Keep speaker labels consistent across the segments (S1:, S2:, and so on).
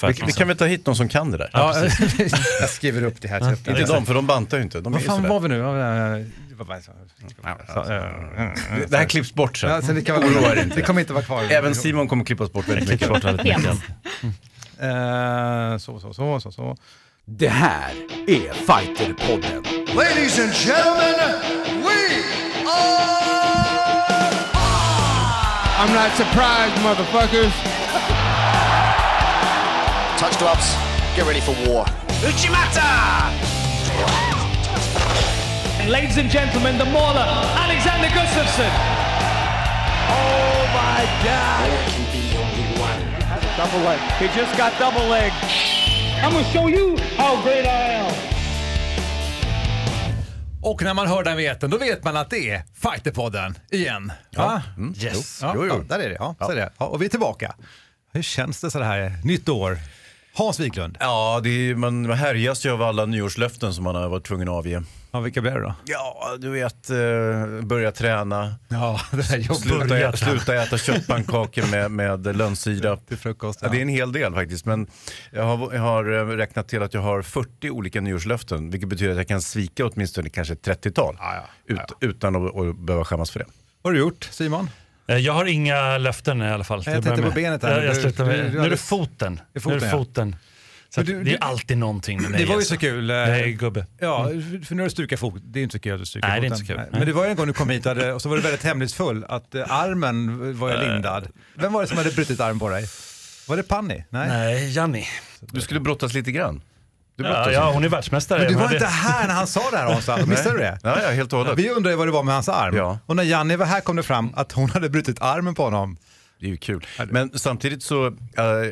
S1: Vi,
S2: Verkligen
S1: vi
S2: så.
S1: kan väl ta hit någon som kan det där?
S3: Ja,
S4: Jag skriver upp det här. till öppna.
S1: Inte de, för de bantar ju inte. De är
S3: vad
S1: ju
S3: fan
S1: sådär.
S3: var vi nu? Ja, eh, ja, ja. Så, eh,
S1: Det- Det här klipps bort sen.
S4: Ja, så det, kan vara,
S1: Oroa er inte.
S4: det kommer inte vara kvar.
S1: Även Simon kommer klippas bort väldigt mycket.
S2: Klart väldigt mycket.
S3: eh, Så, så, så, så, så.
S5: Det här är Fighterpodden.
S6: Ladies and gentlemen, we are
S7: I'm not surprised, motherfuckers.
S6: touch gloves. Get ready for war.
S8: Ladies and gentlemen, the mauler, Alexander Gustafsson. Oh my God. There can be only one. Double leg. He just got double leg. I'm going to show you how great I am.
S3: Och när man hör den veten, då vet man att det är Fighterpodden igen. Va?
S2: Yes.
S3: Ja,
S1: Jo, jo.
S3: ja, där är det. Ja, Så är det. Ja, och vi är tillbaka. Hur känns det så här nytt år? Hans Wiklund,
S1: Ja, det är, ju- man man härjas ju av alla nyårslöften som man har varit tvungen att avge.
S3: ja, vilka blir det då?
S1: Ja, du vet, eh, börja träna,
S3: Ja, det där jobbet.
S1: sluta, ä, sluta äta köttpannkakor med, med lönnsirap.
S3: Till frukost,
S1: Ja, det är en hel del faktiskt, men jag har, jag har eh, räknat till att jag har 40 olika nyårslöften, vilket betyder att jag kan svika åtminstone kanske ett 30-tal
S3: ja,
S1: ut, utan att, att behöva skämmas för det.
S3: Vad har du gjort Simon?
S2: Eh, Jag har inga löften i alla fall. till
S3: jag
S2: att
S3: tänkte
S2: börja
S3: på
S2: med.
S3: benet här.
S2: Jag, jag
S3: Du-
S2: slutar
S3: du-
S2: med.
S3: du
S2: Nu är
S3: hade-
S2: det foten.
S3: är foten,
S2: nu är
S3: ja.
S2: det foten. Så
S3: Men
S2: att
S3: du-
S2: det
S3: du-
S2: är alltid någonting med mig.
S3: Det var ju
S2: alltså.
S3: så kul. eh,
S2: Jag är gubbe.
S3: Ja, för nu har du stukat fot. Mm. Det är inte så kul att du stukar
S2: Nej, det är
S3: foten.
S2: inte så kul.
S3: Men det var ju en gång du kom hit och, hade, och så var du väldigt hemlighetsfull att eh, armen var jag lindad. Vem var det som hade brutit arm på dig? Var det Panni? Nej.
S2: Nej, Janni.
S1: Du skulle brottas lite grann. Du brottas
S2: Ja,
S1: lite.
S2: ja, hon är världsmästare.
S3: Men du
S2: Men
S3: var
S2: det-
S3: inte här när han sa det här Hansa, missade du det?
S1: Ja, ja, helt och hållet.
S3: Vi undrar ju vad det var med hans arm.
S1: Ja.
S3: Och när Janni var här kom det fram att hon hade brutit armen på honom.
S1: Det är ju kul. Men samtidigt så, eh,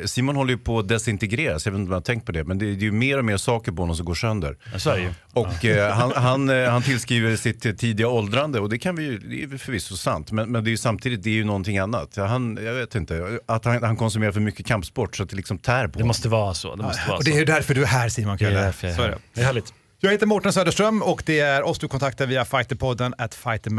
S1: Simon håller ju på att desintegreras, jag vet inte om jag har tänkt på det, men det är det är ju mer och mer saker på honom som går sönder.
S2: Ja, Så är det ju.
S1: Och eh, han, han, eh, han tillskriver sitt eh, tidiga åldrande och det kan vi ju, det är väl förvisso sant, men, men det är ju samtidigt, det är ju någonting annat. Han, jag vet inte, att han, han konsumerar för mycket kampsport så att det liksom tär på
S2: Det
S1: honom.
S2: måste vara så. Det måste vara
S3: Och det är ju därför du är här Simon
S2: så. Det är
S3: Kölle.
S2: därför jag
S3: Så är
S2: är
S3: det.
S2: här. Det är härligt.
S3: Jag heter Mårten Söderström och det är oss du kontaktar via fighterpodden at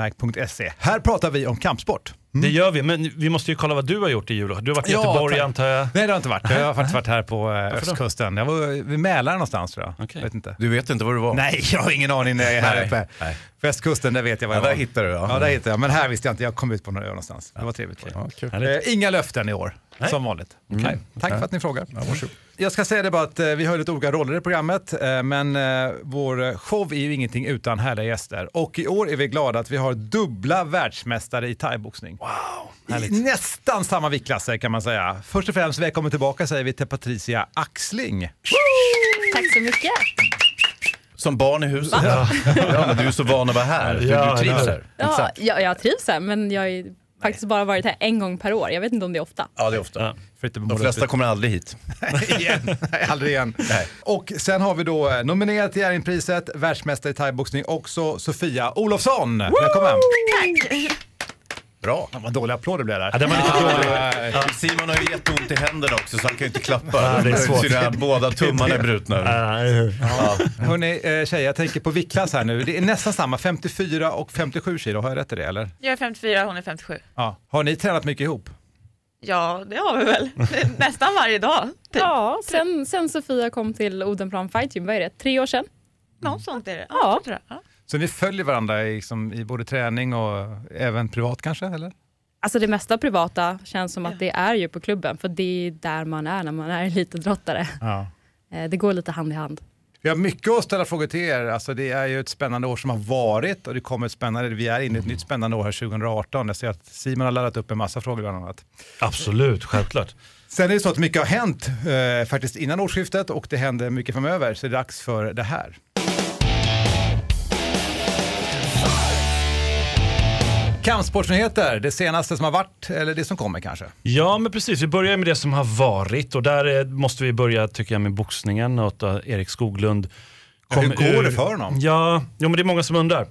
S3: fightermag.se. Här pratar vi om kampsport.
S2: Det gör vi, men vi måste ju kolla vad du har gjort i jul. Du har varit i
S3: Mm. Ja,
S2: Göteborg
S3: tack.
S2: antar jag.
S3: Nej det har jag inte varit. Jag har faktiskt varit här på eh, östkusten. Jag var vid Mälaren någonstans tror jag.
S2: Okej.
S3: Vet inte.
S1: Du vet inte vad det var?
S3: Nej, jag har ingen aning när jag är här
S1: Nej,
S3: uppe.
S1: nej.
S3: Västkusten, där vet jag var
S1: Ja,
S3: jag var.
S1: där hittar du, ja.
S3: Ja, där hittade jag. Men här visste jag inte. Jag kom ut på några ö någonstans. Det var trevligt.
S1: Ja, kul. Mm.
S3: Eh, inga löften i år, som vanligt. Nej. Tack för att ni frågar. jag ska säga det bara att eh, vi har lite olika roller i programmet, eh, men eh, vår show är ju ingenting utan härliga gäster. Och i år är vi glada att vi har dubbla världsmästare i thaiboxning. I nästan samma viktklasser kan man säga. Först och främst välkommen tillbaka säger vi till Patricia Axling.
S9: Tack så mycket.
S1: Som barn i huset. Ja. ja, men du är så van att vara här. Du,
S2: Ja,
S1: du trivs
S2: ja.
S1: här.
S9: Ja, jag, jag trivs här, men jag har ju faktiskt bara varit här en gång per år. Jag vet inte om det är ofta.
S1: Ja, det är ofta.
S2: Ja.
S1: De flesta kommer aldrig hit.
S3: igen. Nej, aldrig igen. Och sen har vi då eh, nominerat till Jerringpriset, världsmästare i thaiboxning också, Sofia Olofsson. Välkommen!
S1: Bra.
S3: Vad dåliga applåder blev
S2: Ja,
S3: där.
S2: den var lite dålig.
S1: Simon har ju jätteont i händerna också så han kan ju inte klappa.
S2: Ja, det är svårt.
S1: Så det här, båda tummarna är brutna.
S3: Hörni eh, tjejer, jag tänker på viktklass här nu. Det är nästan samma, 54 och 57 kilo. Har jag rätt i det eller?
S10: Jag är 54, hon är 57.
S3: Ja. Har ni tränat mycket ihop?
S10: Ja, det har vi väl. Nästan varje dag. Typ.
S9: Ja, sen, sen Sofia kom till Odenplan Fight Gym, vad är det, tre år sedan?
S10: Någon sånt är det.
S9: Ja.
S10: så tror jag. Ja.
S3: Så ni följer varandra i, liksom, i både träning och även privat kanske? Eller?
S9: Alltså det mesta privata känns som att det är ju på klubben, för det är där man är när man är elitidrottare.
S3: Ja.
S9: Eh, Det går lite hand i hand.
S3: Vi har mycket att ställa frågor till er. Alltså, det är ju ett spännande år som har varit och det kommer ett spännande, vi är inne i ett nytt spännande år här 2018. Jag ser att Simon har laddat upp en massa frågor bland annat.
S2: Absolut, självklart.
S3: Sen är det så att mycket har hänt eh, faktiskt innan årsskiftet och det händer mycket framöver så det är dags för det här. Kampsportsnyheter, det senaste som har varit eller det som kommer kanske.
S2: Ja, men precis. Vi börjar med det som har varit och där eh, måste vi börja tycker jag med boxningen och att eh, Erik Skoglund kom
S3: hur går
S2: ur-
S3: det för honom?
S2: Ja, jo, men det är många som undrar.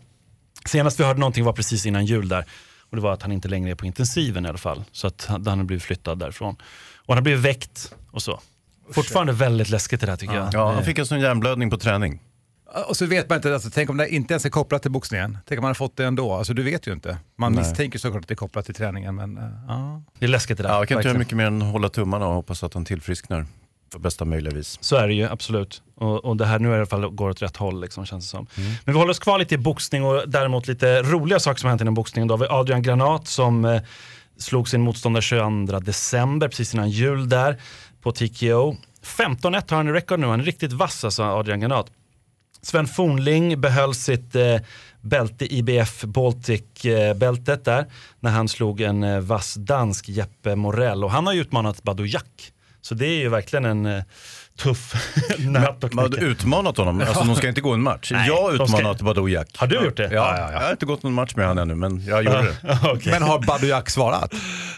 S2: Senast vi hörde någonting var precis innan jul där och det var att han inte längre är på intensiven i alla fall. Så att han han har blivit flyttad därifrån. Och han har blivit väckt och så. Fortfarande väldigt läskigt det där tycker jag.
S1: Ja, han fick en sån hjärnblödning på träning.
S3: Och så vet man inte, alltså, tänk om det inte ens är kopplat till boxningen. Tänk om man har fått det ändå, alltså du vet ju inte. Man misstänker såklart att det är kopplat till träningen men eh, ja.
S2: Det är läskigt det där.
S1: Ja, jag kan inte
S2: verkligen.
S1: göra mycket mer än hålla tummarna och hoppas att han tillfrisknar. på bästa möjliga vis.
S2: Så är det ju, absolut. Och, och det här nu i alla fall går åt rätt håll, liksom, känns det som. Men vi håller oss kvar lite i boxning och däremot lite roliga saker som har hänt inom boxningen. Då har vi Adrian Granat som eh, slog sin motståndare 22 december, precis innan jul där, på TKO. 15-1 har han i rekord nu, han är riktigt vass alltså, Adrian Granat. Sven Fornling behöll sitt eh, bälte, IBF Baltic-bältet eh, där, när han slog en eh, vass dansk, Jeppe Morell. Och han har ju utmanat Badojak. Så det är ju verkligen en eh, tuff nöt att
S1: Man hade
S2: knäcka.
S1: utmanat honom, alltså de ska inte gå en match.
S2: Nej,
S1: jag har
S2: de ska-
S1: utmanat Badojak.
S2: Har du gjort det?
S1: Ja, jag har inte gått någon match med honom ännu, men jag gjorde det.
S2: Okej.
S3: Men har Badujak svarat?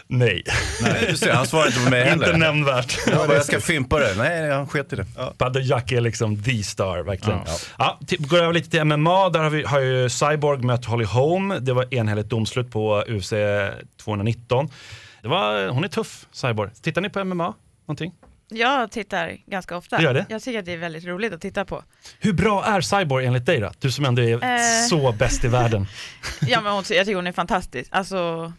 S2: Nej,
S1: Nej, du ser, han svarar inte på mig heller.
S2: inte nämnvärt.
S1: Jag, bara, jag ska fimpa det. Nej, han sket i det.
S2: Badojak är liksom the star, verkligen. Ja. t- går över lite till MMA, där har, vi, har ju Cyborg mött Holly Holm. Det var enhälligt domslut på UFC 219. Det var, hon är tuff, Cyborg. Tittar ni på MMA? Någonting?
S10: Jag tittar ganska ofta.
S2: Gör det?
S10: Jag tycker att det är väldigt roligt att titta på.
S2: Hur bra är Cyborg enligt dig då? Du som ändå är
S10: Eh.
S2: så bäst i världen.
S10: Ja, men hon, jag tycker hon är fantastisk. Alltså,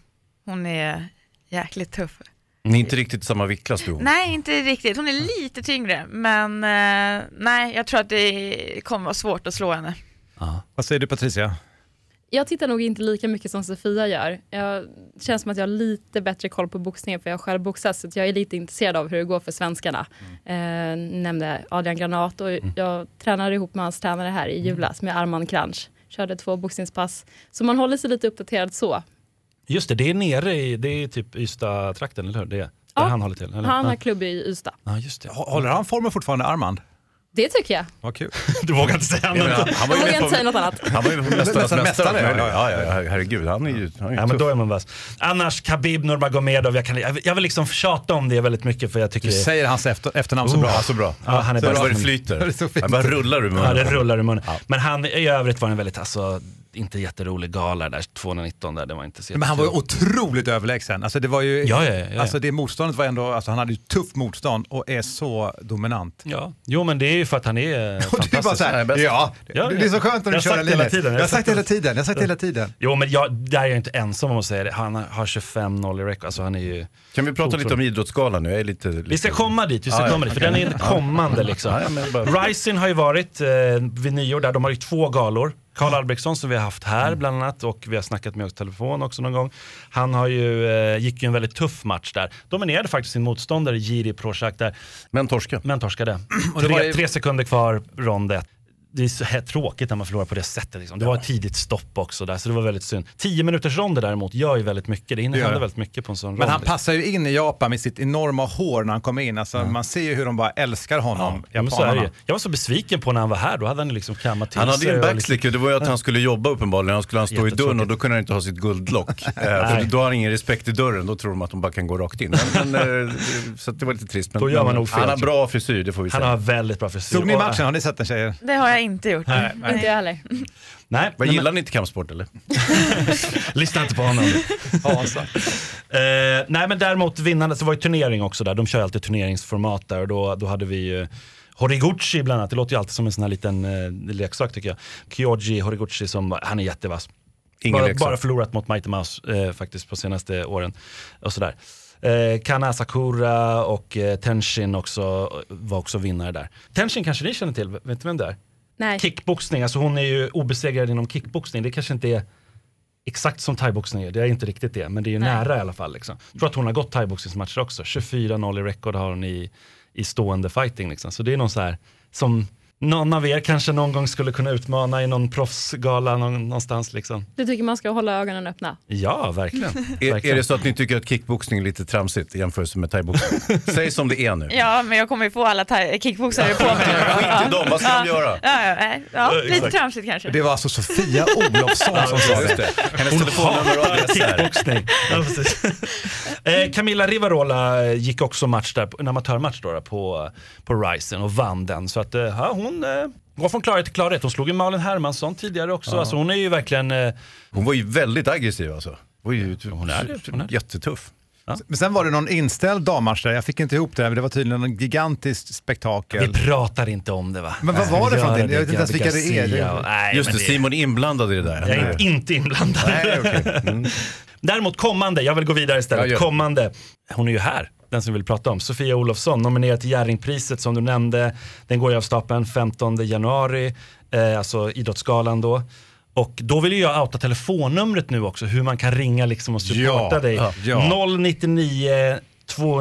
S10: hon är jäkligt tuff.
S1: Ni är inte riktigt samma viktklass du och hon.
S10: Nej, inte riktigt. Hon är lite tyngre, men eh, nej, jag tror att det kommer vara svårt att slå henne.
S3: Vad säger du Patricia?
S9: Jag tittar nog inte lika mycket som Sofia gör. Jag det känns som att jag har lite bättre koll på boxningen för jag har själv boxas så att jag är lite intresserad av hur det går för svenskarna. Eh, nämnde Adrian Granat och
S2: Mm.
S9: jag tränade ihop med hans tränare här i julas med Arman Kranj. Körde två boxningspass. Så man håller sig lite uppdaterad så.
S2: Just det, det är nere i, det är typ Ystad-trakten, eller hur? Det är, där
S9: Ja.
S2: han håller till? Eller?
S9: Han har
S2: ja.
S9: klubb i Ystad.
S2: ja, just det.
S3: Hå- Håller han formen fortfarande, Armand?
S9: Det tycker jag.
S3: Vad kul.
S2: Du vågar inte säga
S1: Jag
S2: något.
S1: menar, Han var ju
S9: Jag vågar
S1: med
S9: inte säga
S1: på,
S9: något annat.
S1: han var ju med på Mästarnas
S3: Mästare,
S1: mästare.
S3: mästare, ja,
S1: Ja, ja, ja, herregud. Han är ju, han är ju
S2: Ja, men
S1: tuff.
S2: då är man vass. Annars Khabib Nurmagomedov, jag, kan, jag, vill- jag vill liksom tjata om det väldigt mycket för jag tycker
S3: Du
S2: det,
S3: säger hans efter, efternamn så bra.
S1: Ja, så bra.
S2: Ja, han är
S1: så
S2: Oh, bra.
S1: bra. det
S3: Det är
S1: flyter.
S3: så fint.
S1: Han bara rullar ur
S2: ja,
S1: munnen.
S2: det rullar i munnen. Men han i övrigt var en väldigt, alltså, inte jätterolig gala där, 219 där, det var inte så
S3: Men han var ju
S2: jättekul.
S3: otroligt överlägsen. Alltså det var ju,
S2: Ja, ja, ja, ja.
S3: Alltså det motståndet var ändå, alltså han hade ju tufft motstånd och är så dominant.
S2: Ja. Jo men det är ju för att han är eh,
S3: Och du bara
S2: fantastisk.
S3: så här, ja,
S2: Ja,
S3: det är så skönt när du
S2: jag har
S3: kör
S2: sagt
S3: en
S2: det hela
S3: linje.
S2: tiden,
S3: Jag har sagt det hela tiden, jag har sagt det hela tiden.
S2: Jo men jag, där är jag inte ensam om att säga det. Han har 25-0 i record, alltså han är ju...
S1: Kan vi prata lite om Idrottsgalan nu? Jag är lite... lite...
S2: Vi ska komma dit, vi ska
S1: Ja, ja,
S2: komma dit, för
S1: okej.
S2: den är inte kommande liksom.
S1: Ja, ja, men bara-
S2: Rising har ju varit eh, vid nyår där, de har ju två galor. Karl Albrektsson som vi har haft här
S1: Mm.
S2: bland annat och vi har snackat med oss telefon också någon gång. Han har ju, eh, gick ju en väldigt tuff match där. Dominerade faktiskt sin motståndare Jiri Prochak där,
S1: Men torska.
S2: men torskade.
S3: det var
S2: tre,
S3: ju-
S2: tre sekunder kvar ronde. Det är så här tråkigt när man förlorar på det sättet. Liksom. Det var ett tidigt stopp också där, så det var väldigt synd. Tio minuters ronder däremot gör ju väldigt mycket. Det
S3: Det gör
S2: innehåller
S3: det.
S2: väldigt mycket på en sån rond.
S3: Men han
S2: liksom.
S3: passar ju in i Japan med sitt enorma hår när han kommer in. Alltså man ser ju hur de bara älskar honom,
S2: Ja, men så är det. ju.
S3: japanerna.
S2: Jag var så besviken på när han var här, då hade han ju liksom kammat till
S1: Han hade ju en
S2: sig och
S1: backslick och det var ju att han skulle jobba uppenbarligen. Han skulle han stå i dörren och då kunde han inte ha sitt guldlock. Eh,
S2: Nej.
S1: För då har han ingen respekt i dörren, då tror de att de bara kan gå rakt in. Men, men, eh, så att det var lite trist. Men,
S2: Då gör man
S1: men
S2: nog fel,
S1: Han har
S2: tror
S1: bra frisyr, det får vi
S2: liksom- Han
S1: säga.
S2: har väldigt bra frisyr.
S3: Såg ni
S2: Och-
S3: matchen? Har ni sett den tjejer?
S10: Det har jag inte gjort.
S9: Inte jag heller.
S2: Nej,
S1: Vad
S2: nej,
S1: Gillar ni inte kampsport eller?
S2: men, lyssna inte på honom. Eh, nej men däremot vinnarna, så var ju turnering också där. De kör ju alltid turneringsformat där och då, då hade vi ju Horiguchi bland annat. Det låter ju alltid som en sån här liten eh, leksak tycker jag. Kyoji Horiguchi som, han är jättevass.
S1: Ingen
S2: bara,
S1: leksak.
S2: bara förlorat mot Mighty Mouse eh, faktiskt på senaste åren. Och sådär. Eh, Kana Sakura och eh, Tenshin också, eh, var också vinnare där. Tenshin kanske ni känner till, vet ni vem det är?
S9: Nej.
S2: Kickboxning, alltså hon är ju obesegrad inom kickboxning. Det kanske inte är exakt som thaiboxning är, det är inte riktigt det, men det är ju nära i alla fall. Liksom. Jag tror att hon har gått thaiboxningsmatcher också. 24-0 i rekord har hon i, i stående fighting. Liksom. Så det är någon så här som någon av er kanske någon gång skulle kunna utmana i någon proffsgala någon, någonstans. Liksom.
S9: Du tycker man ska hålla ögonen öppna.
S2: Ja, verkligen.
S1: Är, är
S2: verkligen.
S1: det så att ni tycker att kickboxning är lite tramsigt i jämförelse med thaiboxning? Säg som det är nu.
S10: Ja, men jag kommer ju få alla thai- kickboxare på mig.
S1: Skit i dem, vad ska de göra?
S10: Ja, ja, nej. ja, lite tramsigt kanske.
S3: Det var alltså Sofia Olofsson som sa
S1: Just
S3: det.
S1: det. Hennes telefonnummer och adress här.
S2: Kickboxning. Ja, precis. eh, Camilla Rivarola eh, gick också match där, på- en amatörmatch då, då, på, på Ryzen och vann den. Så att eh, ja, hon eh, går från klarhet till klarhet. Hon slog ju Malin Hermansson tidigare också. Alltså, hon är ju verkligen... Eh,
S1: Hon var ju väldigt aggressiv alltså. Hon är ju
S2: är det, hon är det.
S1: jättetuff.
S3: Men sen var det någon inställd dammatch där, jag fick inte ihop det, men det var tydligen någon gigantiskt
S2: vi
S3: spektakel.
S2: pratar inte om det va?
S3: Men vad var det för
S2: Gör
S3: någonting? Jag vet inte ens vilka det
S2: Gabi
S3: är.
S2: Garcia och- Nej,
S1: Just
S2: men
S1: det, Simon är inblandad i det där.
S2: Jag är inte inblandad.
S1: Nej, okej. Mm.
S2: Däremot kommande, jag vill gå vidare
S1: Ja,
S2: istället.
S1: gör det.
S2: kommande, hon är ju här. den som vi vill prata om. Sofia Olofsson, nominerad till Jerringpriset som du nämnde. Den går ju av stapeln 15 januari, eh, alltså Idrottsgalan då. Och då vill ju jag outa telefonnumret nu också, hur man kan ringa liksom och supporta
S1: Ja,
S2: dig.
S1: ja.
S2: 099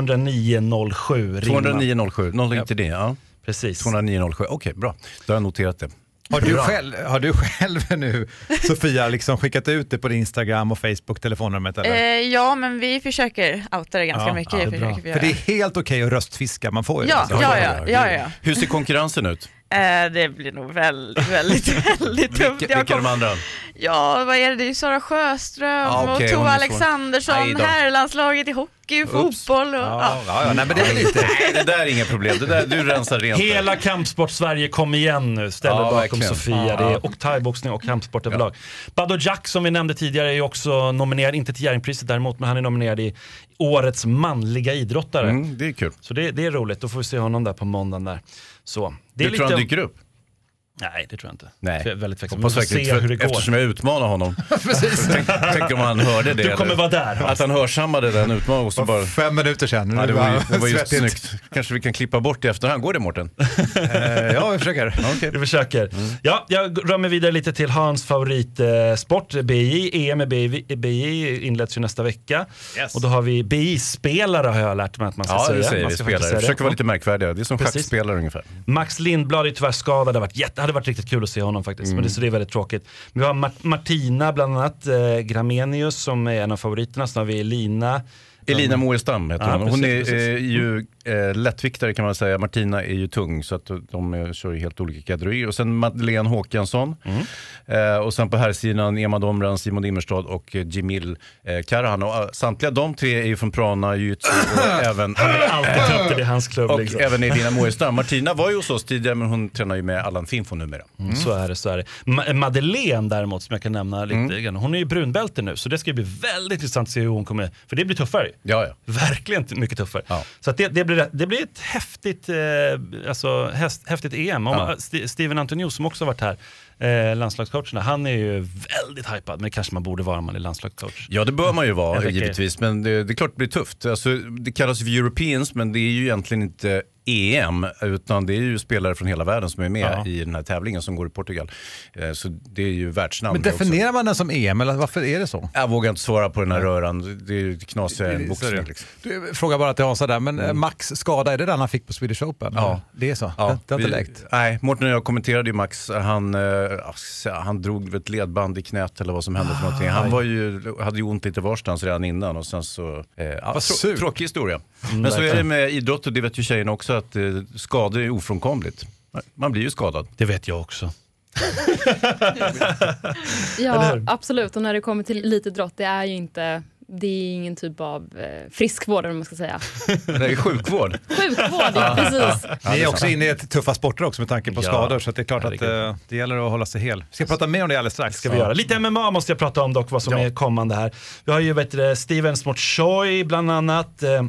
S2: 209 07.
S1: 209 07, noll inte det. Ja.
S2: Precis.
S1: 209 07, okej bra. Då har jag noterat det.
S3: Har du,
S1: Bra.
S3: själv, har du själv nu, Sofia, liksom skickat ut det på din Instagram och Facebook, telefonnumret eller?
S10: Eh, ja, men vi försöker outa det ganska
S3: Ja,
S10: mycket.
S3: ja, det är
S10: försöker
S3: bra.
S10: vi
S3: För det
S10: göra.
S3: är helt okej att röstfiska, man får ju
S10: Ja,
S3: det.
S10: ja, ja, ja, ja.
S1: Hur ser konkurrensen ut?
S10: Eh, det blir nog väldigt, väldigt, väldigt tufft.
S1: Vilka, vilka är de andra?
S10: Ja, vad är det? Det är ju Sara Sjöström
S1: Ja, okej, hon
S10: och Tove
S1: är svår. Aj
S10: Alexandersson,
S1: då.
S10: herrlandslaget i hockey, fotboll och... Ja.
S1: ja, nej, men det, är lite... det där är inga problem, det där, du rensar rent.
S2: Hela Kampsport-Sverige, kom igen nu. Ställ er
S1: Ja,
S2: bakom
S1: verkligen.
S2: Sofia.
S1: Ja.
S2: Det är och thaiboxning och kampsport överlag. Baddo Jack som vi nämnde tidigare är ju också nominerad, inte till Jerringpriset däremot, men han är nominerad i årets manliga idrottare.
S1: Mm, det är kul.
S2: Så det, det är roligt, då får vi se honom där på måndagen där. Så, det är
S1: Du tror han dyker upp?
S2: Nej, det tror jag inte.
S1: Nej.
S2: Jag är väldigt tveksam. Vi
S1: Hoppas
S2: får
S1: verkligen,
S2: se
S1: för-
S2: hur det går.
S1: Eftersom jag utmanar honom. Tänk, tänk om han hörde det.
S2: Du kommer
S1: eller-
S2: vara där, Hans.
S1: Att han hörsammade den utmaningen. och så bara...
S3: Fem minuter sedan, nu
S1: Ja,
S3: är
S1: det
S3: det
S1: var ju,
S3: bara
S1: det var ju
S3: svettigt.
S1: snyggt. Kanske vi kan klippa bort i efterhand. Går det Mårten?
S3: Eh, Ja, vi försöker.
S1: Okej.
S2: Du försöker.
S1: Mm.
S2: Ja, jag rör mig vidare lite till Hans favoritsport, BI. EM i BI, BI inleds ju nästa vecka.
S3: Yes.
S2: Och då har vi BI-spelare har jag lärt mig att man ska
S1: Ja,
S2: säga.
S1: det säger
S2: man
S1: vi.
S2: ska faktiskt
S1: Spelare.
S2: säga det.
S1: Försöker vara lite märkvärdiga. Det är som
S2: Precis.
S1: schackspelare ungefär.
S2: Max Lindblad är tyvärr skadad, det hade varit, jätte, hade varit riktigt kul att se honom faktiskt. Men det, så det är väldigt tråkigt. Men vi har Mar- Martina bland annat, eh, Gramenius som är en av favoriterna. Sen har vi Elina.
S1: Elina Moestam heter
S2: Ja,
S1: hon. Hon
S2: precis,
S1: är eh,
S2: precis.
S1: ju eh, lättviktare kan man säga. Martina är ju tung så att de eh, kör ju helt olika kategorier. Och sen Madeleine Håkansson.
S2: Mm.
S1: Eh, och sen på här sidan Emma Domran, Simon Dimmerstad och eh, Jimil eh, Karahan. Och, eh, samtliga de tre är ju från Prana, jiu-jitsu och även...
S2: Han är alltid ta upp det, det är hans klubb.
S1: Och
S2: liksom.
S1: även Elina Moestam. Martina var ju hos oss tidigare men hon tränar ju med Allan Finfo numera.
S2: Mm. Så är det, så är det. Ma- Madeleine däremot, som jag kan nämna lite
S1: Mm.
S2: grann, hon är ju brunbälte nu, så det ska bli väldigt intressant att se hur hon kommer, för det blir tuffare.
S1: Ja, ja.
S2: Verkligen t- mycket tuffare.
S1: Ja.
S2: Så att det, det, blir, det blir ett häftigt, eh, alltså, häst, häftigt EM. Om,
S1: Ja.
S2: St- Steven Antoniou som också har varit här, eh, landslagscoachen, där, han är ju väldigt hypad, men det kanske man borde vara om man är landslagscoach.
S1: Ja, det bör man ju vara
S2: Jag tänker-
S1: givetvis, men det, det är klart det blir tufft. Alltså, det kallas för Europeans, men det är ju egentligen inte EM, utan det är ju spelare från hela världen som är med
S2: Ja.
S1: i den här tävlingen som går i Portugal. Eh, Så det är ju världsnamn.
S3: Men
S1: det också.
S3: definierar man den som EM eller varför är det så?
S1: Jag vågar inte svara på den här röran, det är ju knasiga
S3: Det
S1: än
S3: är- så är
S1: boxning.
S3: det.
S1: Liksom.
S3: Du, fråga bara till Hansa där, men eh, Max skada, är det den han fick på Swedish Open?
S1: Ja.
S3: Det är så? Det, det har inte
S1: vi-
S3: läkt?
S1: Nej, Mårten och jag kommenterade ju Max, han, eh, ass, han drog väl ett ledband i knät eller vad som hände för någonting. Han var ju, hade ju ont lite varstans redan innan och sen så... Eh, ja,
S3: surt.
S1: tråkig historia. Men så är det
S2: verkligen.
S1: med idrott och det vet ju tjejerna också att eh, skador är ofrånkomligt. Man blir ju skadad.
S2: Det vet jag också.
S9: Ja, absolut. Och när det kommer till elitidrott, det är ju inte det är ingen typ av eh, friskvård, eller vad man ska säga.
S1: Det är sjukvård.
S9: Sjukvård, ja, precis.
S3: Ni är också inne i ett tuffa sporter också med tanke på
S2: Ja.
S3: skador, så att det är klart att
S2: Herregud.
S3: eh, det gäller att hålla sig hel. Vi ska prata mer om det alldeles strax.
S2: ska vi göra. Lite MMA måste jag prata om dock, vad som är kommande här. Vi har ju vet du, Stevens mot Choi bland annat. Eh,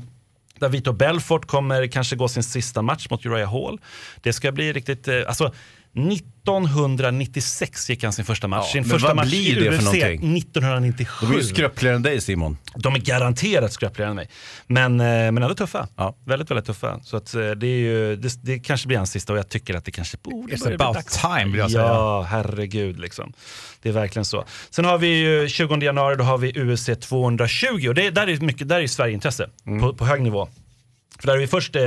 S2: där Vito Belfort kommer kanske gå sin sista match mot Uriah Hall. Det ska bli riktigt, eh, alltså 1996 gick han sin första match.
S1: Ja,
S2: sin
S1: men
S2: första
S1: vad
S2: match
S1: blir det för någonting?
S2: 1997.
S1: De är ju skröpligare än dig Simon.
S2: De är garanterat skröpligare än mig. Men, eh, men ändå tuffa.
S1: Ja.
S2: Väldigt, väldigt tuffa. Så att, eh, det, är ju, det, det kanske blir hans sista och jag tycker att det kanske borde
S3: It's
S2: börja bli
S3: about
S2: dags.
S3: time, vill jag säga.
S2: Ja, herregud liksom. Det är verkligen så. Sen har vi ju 20 januari, då har vi UFC 220 och det, där är mycket, där är Sverige intresse
S3: Mm.
S2: på, på hög nivå. För där har vi först eh,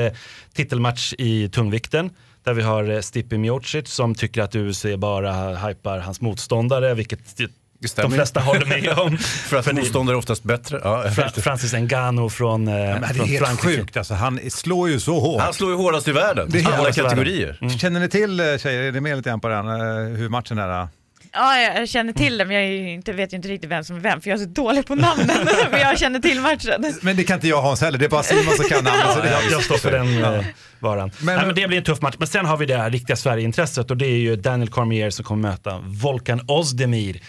S2: titelmatch i tungvikten. Där vi har eh, Stipe Miocic som tycker att UFC bara hypar hans motståndare, vilket de-
S1: Det stämmer.
S2: de flesta håller med om.
S1: För att motståndare är oftast bättre. Ja.
S2: Fra Francis Ngannou från, eh,
S3: Men det är
S2: från
S3: helt
S2: Frankrike.
S3: sjukt alltså, han slår ju så hårt.
S1: Han slår ju hårdast i världen.
S3: Det är
S1: Alla
S3: hårdast i världen.
S1: kategorier.
S3: Känner ni till eh, tjejer, är ni med lite grann på den, eh, hur matchen är? eh?
S10: Ja, jag känner till det, men jag är ju inte, vet ju inte riktigt vem som är vem, för jag är så dålig på namnen, men jag känner till matchen.
S3: Men det kan inte jag Hans heller, det är bara Simon som kan namnet. så
S2: Ja,
S3: det-
S2: Alltså, jag, jag står för den eh, varan.
S3: Men-
S2: Nej, men det blir en tuff match. Men sen har vi det här riktiga Sverigeintresset och det är ju Daniel Cormier som kommer möta Volkan Ozdemir.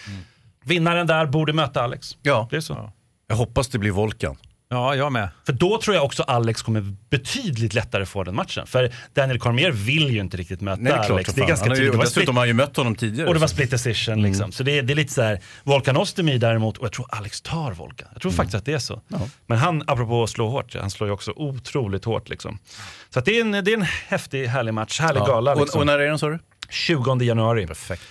S2: Vinnaren där borde möta Alex.
S1: Mm. Ja.
S2: Det är så.
S1: Jag hoppas det blir Volkan.
S3: Ja, jag med.
S2: För då tror jag också Alex kommer betydligt lättare få den matchen. För Daniel Cormier vill ju inte riktigt möta
S1: Nej, liksom. det är klart
S2: Alex.
S1: som fan. Han har ju,
S2: tydligt. Det var
S1: dessutom
S2: split-
S1: har han ju mött honom tidigare.
S2: Och det var
S1: så.
S2: split decision
S1: Mm.
S2: liksom. Så det är, det är lite så här, Volkan Ozdemir däremot, och jag tror Alex tar Volkan. Jag
S1: Mm.
S2: tror faktiskt att det är så. Men han, apropå att slå hårt, han slår ju också otroligt hårt liksom. Så att det, är en, det är en häftig, härlig match, härlig
S1: Ja.
S2: gala liksom.
S1: och, och när är den sa du?
S2: 20 januari.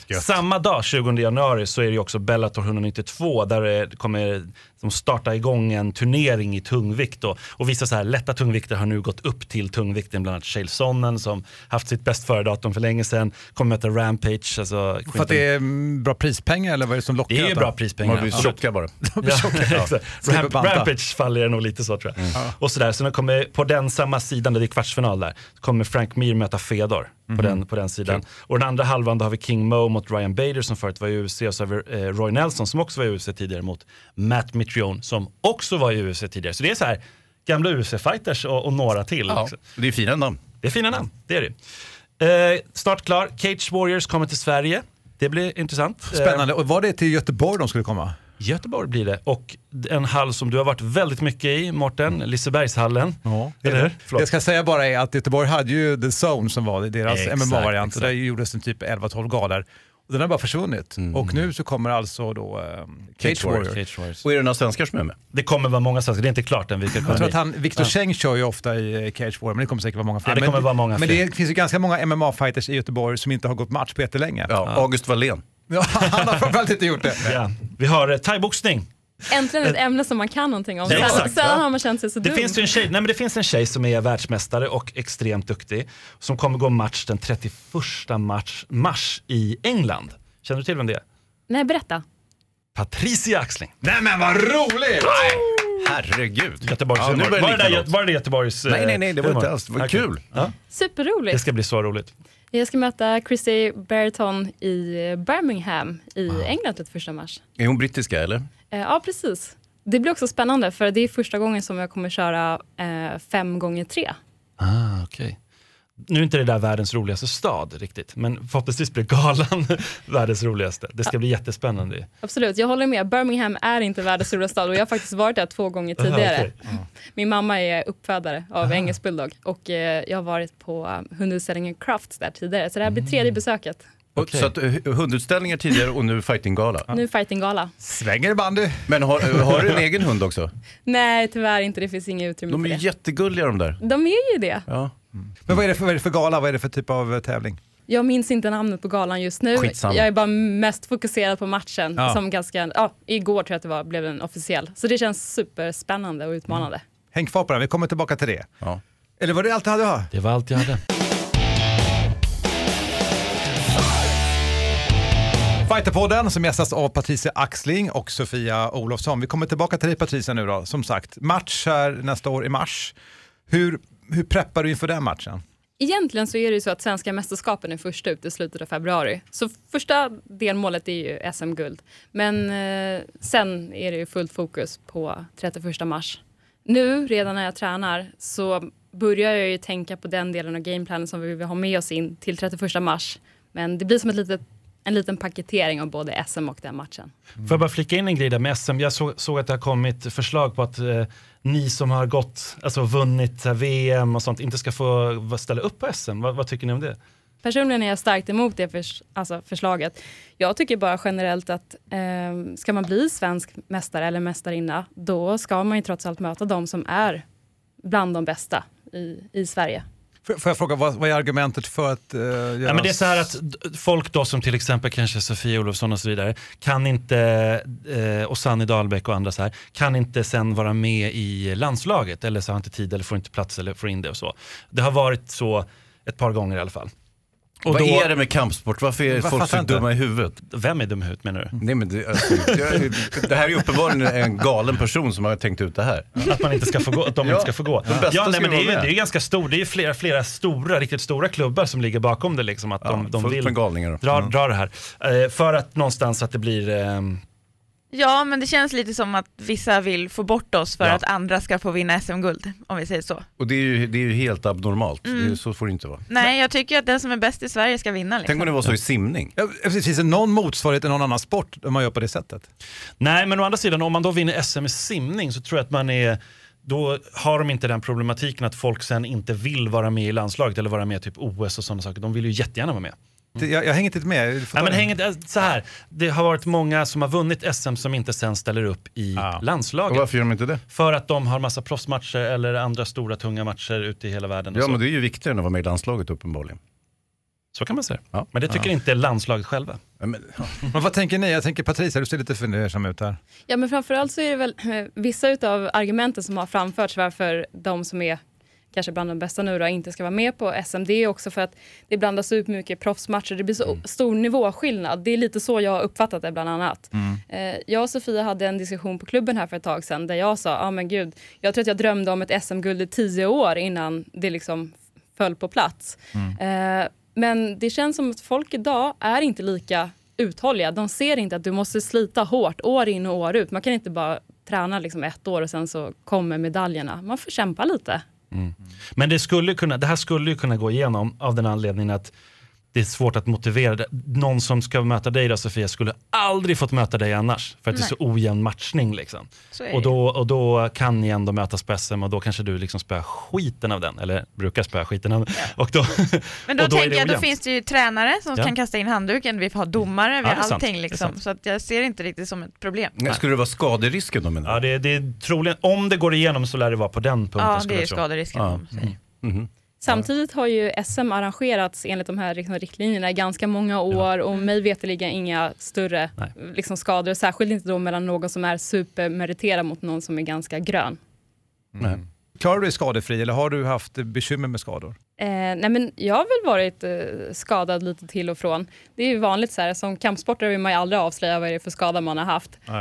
S1: gött.
S2: Samma dag, 20 januari, så är det ju också Bellator 192 där det kommer de starta igång en turnering i tungvikt. Då. Och vissa så här lätta tungvikter har nu gått upp till tungvikten, bland annat Chael Sonnen som haft sitt bäst före-datum för länge sedan, kommer möta Rampage. Alltså
S3: För
S2: Quinton-
S3: att det är mm, bra prispengar eller vad är det som lockar?
S2: det är ju
S3: detta?
S2: bra
S1: De
S2: prispengar.
S1: har blivit
S2: Ja.
S1: tjocka bara.
S2: Ja, exakt.
S3: Slipper
S2: Ramp-
S3: banta. Mm.
S2: Rampage faller nog lite så tror jag. Och sådär, så nu kommer på den samma sidan, där det är kvartsfinal där, så kommer Frank Mir möta Fedor
S3: Mhm.
S2: på, den, på den sidan. Och den andra halvan då har vi King Mo mot Ryan Bader som förut var i UFC och så har vi eh, Roy Nelson som också var i UFC tidigare mot Matt Mitrione som också var i UFC tidigare. Så det är så här gamla UFC-fighters och, och några till.
S1: Ja.
S2: också.
S1: Det är fina namn.
S2: Det är fina namn, det är det. Eh, snart klar, Cage Warriors kommer till Sverige. Det blir intressant. Eh,
S3: Spännande. Och var det till Göteborg de skulle komma?
S2: Göteborg blir det. Och en hall som du har varit väldigt mycket i, Mårten, Lisebergshallen. Eller hur? Förlåt.
S3: Det jag ska säga bara är att Göteborg hade ju The Zone som var deras
S2: Exakt,
S3: MMA-variant.
S2: exakt. Mm.
S3: Där gjordes en typ 11-12 galor. Och den har bara försvunnit. Och nu så kommer alltså då ehm, Cage Warrior.
S2: Cage Warriors.
S1: Och är det några svenskar som är med?
S2: Det kommer vara många svenskar, det är inte klart än vilka kommer
S3: Jag tror att
S2: dit.
S3: han, Victor Cheng kör ju ofta i eh, Cage Warrior, men det kommer säkert vara många fler.
S2: Ja, det kommer
S3: men,
S2: vara många
S3: men
S2: fler.
S3: det finns ju ganska många MMA-fighters i Göteborg som inte har gått match på jättelänge.
S1: Ja, August Wallén.
S3: Ja, han har framförallt inte gjort det.
S2: Ja. Vi har eh, thaiboxning.
S9: Äntligen ett ämne som man kan någonting om.
S2: Ja,
S9: Sällan-
S2: exakt,
S9: Sällan
S2: ja.
S9: har man känt sig så
S2: Det
S9: dum.
S2: finns ju en tjej, nej men det finns en tjej som är världsmästare och extremt duktig. Som kommer gå match den 31 mars, mars i England. Känner du till vem det är?
S9: Nej, berätta.
S2: Patricia Axling.
S3: Nej men vad roligt!
S1: Herregud.
S2: Göteborgs
S1: Ja, nu
S2: humor.
S1: börjar det
S2: Var det, där,
S1: likna
S2: Gö-
S1: något.
S2: var det där Göteborgs eh,
S1: Nej, nej, nej, det var
S2: humor?
S1: inte alls. Det var
S2: Okej.
S1: kul.
S2: Ja.
S9: Superroligt.
S2: Det ska bli så roligt.
S9: Jag ska möta Chrissy Berton i Birmingham i England den 1 mars.
S1: Är hon brittiska eller?
S9: Eh, Ja, precis. Det blir också spännande för det är första gången som jag kommer köra eh, fem gånger tre.
S2: Ah, okej. Nu är inte det där världens roligaste stad riktigt, men förhoppningsvis blir galan världens roligaste. Det ska bli jättespännande.
S9: Absolut, jag håller med. Birmingham är inte världens roligaste stad och jag har faktiskt varit där två gånger
S2: Aha,
S9: tidigare.
S2: okej. Ah.
S9: Min mamma är uppfödare av engelsk bulldog och eh, jag har varit på eh, hundutställningen Crafts där tidigare. Så det här
S2: Mm.
S9: blir tredje besöket.
S1: Och-
S2: Okej.
S1: Så att, eh, hundutställningar tidigare och nu fightinggala.
S9: Nu fightinggala.
S3: Svänger i bandy.
S1: Men har, eh, har du en egen hund också?
S9: Nej, tyvärr inte. Det finns inget utrymme
S1: De är
S9: för
S1: ju
S9: det.
S1: jättegulliga de där.
S9: De är ju det.
S1: Ja.
S3: Men vad är, det för, vad är det för gala? Vad är det för typ av eh, tävling?
S9: Jag minns inte namnet på galan just nu.
S1: Skitsamma.
S9: Jag är bara mest fokuserad på matchen.
S3: Ja.
S9: Som ganska, ja, igår tror jag att det var, blev den officiell. Så det känns superspännande och utmanande.
S3: Häng kvar på den, vi kommer tillbaka till det.
S1: Ja.
S3: Eller var det allt du hade att ha?
S2: Det var allt jag hade.
S3: Fighterpodden som gästas av Patricia Axling och Sofia Olofsson. Vi kommer tillbaka till dig Patricia nu då, som sagt. Match här nästa år i mars. Hur, hur preppar du inför den matchen?
S9: Egentligen så är det ju så att svenska mästerskapen är först ut i slutet av februari. Så första delmålet är ju SM-guld. Men eh, sen är det ju fullt fokus på 31 mars. Nu, redan när jag tränar, så börjar jag ju tänka på den delen av gameplanen som vi vill ha med oss in till 31 mars. Men det blir som ett litet, en liten paketering av både SM och den matchen.
S2: Får jag bara flika in en grej där med SM? Jag såg, såg att det har kommit förslag på att eh, ni som har gått, alltså vunnit eh, VM och sånt, inte ska få va- ställa upp på SM. Vad, vad tycker ni om det?
S9: Personligen är jag starkt emot det förs- alltså förslaget. Jag tycker bara generellt att eh, ska man bli svensk mästare eller mästarinna, då ska man ju trots allt möta de som är bland de bästa i, i Sverige.
S3: Får, får jag fråga, vad, vad är argumentet för att eh, göra...
S2: Ja, men det är så här att d- folk då som till exempel kanske Sofia Olofsson och så vidare, kan inte, eh, och Sanni Dahlbäck och andra så här, kan inte sen vara med i landslaget eller så har inte tid eller får inte plats eller får in det och så. Det har varit så ett par gånger i alla fall. Och
S1: Vad
S2: då,
S1: är det med kampsport? Varför är
S3: Vad
S1: folk
S3: fattar
S1: så
S3: inte.
S1: dumma i huvudet?
S2: Vem är dum i huvudet menar
S1: Nej, men det, alltså, det, det här är ju uppenbarligen en galen person som har tänkt ut det här.
S2: du? Att, man inte ska få gå, att de
S1: Ja,
S2: inte ska få gå.
S1: de bästa
S2: Ja, nej,
S1: ska
S2: men det, är
S1: vara
S2: ju,
S1: med.
S2: det är ju ganska stor, det är ju flera, flera stora, riktigt stora klubbar som ligger bakom det. Liksom, att de, de
S1: Fullt
S2: vill
S1: med galningar.
S2: dra, dra det här. Eh, för att någonstans att det blir ehm,
S10: Ja, men det känns lite som att vissa vill få bort oss för
S2: Ja.
S10: att andra ska få vinna SM-guld, om vi säger så.
S1: Och det är ju, det är ju helt abnormalt.
S10: Mm.
S1: Det, så får det inte vara.
S10: Nej, jag tycker att den som är bäst i Sverige ska vinna. Liksom.
S1: Tänk om det var så i simning.
S3: Ja, eh, precis, finns det någon motsvarighet i någon annan sport om man gör på det sättet?
S2: Nej, men å andra sidan, om man då vinner SM i simning så tror jag att man är då har de inte den problematiken att folk sen inte vill vara med i landslaget eller vara med i typ OS och sådana saker. De vill ju jättegärna vara med.
S3: Jag, jag hänger inte med.
S2: Nej, men häng, inte- så här, det har varit många som har vunnit SM som inte sen ställer upp i landslaget.
S1: Och varför gör de inte det?
S2: För att de har massa proffsmatcher eller andra stora tunga matcher ute i hela världen. och
S1: Ja,
S2: så.
S1: men det är ju viktigare än att vara med i landslaget uppenbarligen.
S2: så kan man säga.
S1: Ja.
S2: Men det tycker
S1: ja.
S2: inte landslaget själva.
S1: Men,
S3: Men vad tänker ni? Jag tänker Patricia, du ser lite fundersam ut här.
S9: Ja, men framförallt så är det väl eh, vissa utav argumenten som har framförts varför de som är kanske bland de bästa nu då, inte ska vara med på SM. Det är också för att det blandas upp mycket proffsmatcher. Det blir så stor nivåskillnad. Det är lite så jag har uppfattat det bland annat. Eh, Jag och Sofia hade en diskussion på klubben här för ett tag sedan där jag sa, ja ah, men gud, jag tror att jag drömde om ett SM-guld i tio år innan det liksom föll på plats. Eh, Men det känns som att folk idag är inte lika uthålliga. De ser inte att du måste slita hårt år in och år ut. Man kan inte bara träna liksom ett år och sen så kommer medaljerna. Man får kämpa lite.
S2: Men det, skulle kunna, det här skulle ju kunna gå igenom av den anledningen att det är svårt att motivera. det. Någon som ska möta dig då Sofia skulle aldrig fått möta dig annars. För att det är så ojämn matchning liksom.
S10: Så är
S2: Och
S10: det.
S2: då, och då kan ni ändå mötas på SM och då kanske du liksom spöar skiten av den. Eller brukar spöa skiten av den. Och då,
S10: Men då,
S2: och då är det
S10: tänker jag, då
S2: ojämnt.
S10: finns det ju tränare som
S2: Ja.
S10: kan kasta in handduken, vi har domare, vi
S2: Ja,
S10: har
S2: det är sant.
S10: allting
S2: Det är
S10: liksom.
S2: sant.
S10: Så att jag ser det inte riktigt som ett problem.
S1: Nej, skulle det vara skaderisken då menar
S2: Ja,
S1: du?
S2: det, det är troligen, om det går igenom så lär det vara på den punkten.
S10: Ja,
S2: skulle
S10: det är
S2: jag tro.
S10: skaderisken.
S2: Ja. Mm.
S10: som säger.
S9: Samtidigt har ju SM arrangerats enligt de här liksom riktlinjerna i ganska många år och mig veterligen inga större
S2: Nej.
S9: liksom skador. Särskilt inte då mellan någon som är supermeriterad mot någon som är ganska grön.
S3: Klarar Mm. du dig skadefri eller har du haft bekymmer med skador?
S9: Eh, nej men jag har väl varit eh, skadad lite till och från. Det är ju vanligt så här, som kampsportare vill man ju aldrig avslöja vad det är för skada man har haft. Eh,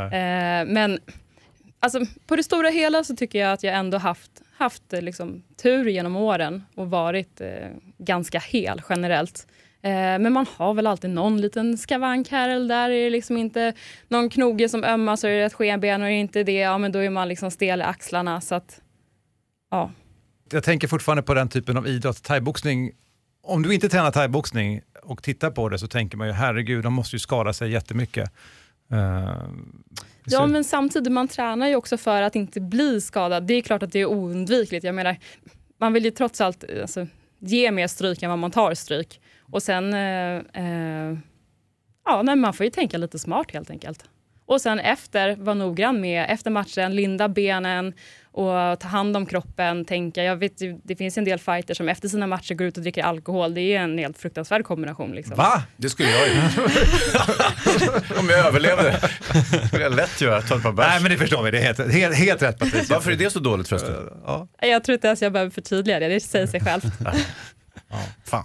S9: men alltså, på det stora hela så tycker jag att jag ändå haft, haft eh, liksom, tur genom åren och varit eh, ganska hel generellt. Eh, men man har väl alltid någon liten skavank här eller där. Är det liksom inte någon knoge som ömmar så är det ett skenben och är det inte det, ja men då är man liksom stel i axlarna. Så att, ja.
S3: Jag tänker fortfarande på den typen av idrott, thaiboxning. Om du inte tränar thaiboxning och tittar på det så tänker man ju herregud, de måste ju skada sig jättemycket. Uh,
S9: Ja, men samtidigt, man tränar ju också för att inte bli skadad. Det är klart att det är oundvikligt. Jag menar, man vill ju trots allt eh, alltså, ge mer stryk än vad man tar stryk. Och sen, eh, eh, ja, nej, man får ju tänka lite smart helt enkelt. Och sen efter, var noggrann med, efter matchen, linda benen och ta hand om kroppen, tänka. Jag vet ju, det finns en del fighter som efter sina matcher går ut och dricker alkohol. Det är en helt fruktansvärd kombination. Liksom.
S3: Va?
S1: Det skulle jag ju. Om jag överlevde. Det skulle jag lätt göra, ta ett par
S3: Nej,
S1: bärs.
S3: men det förstår vi. Det är helt, helt, helt rätt Patricia.
S1: Varför är det så dåligt förresten?
S9: Jag tror inte ens jag behöver förtydliga det, det säger sig självt.
S1: Fan.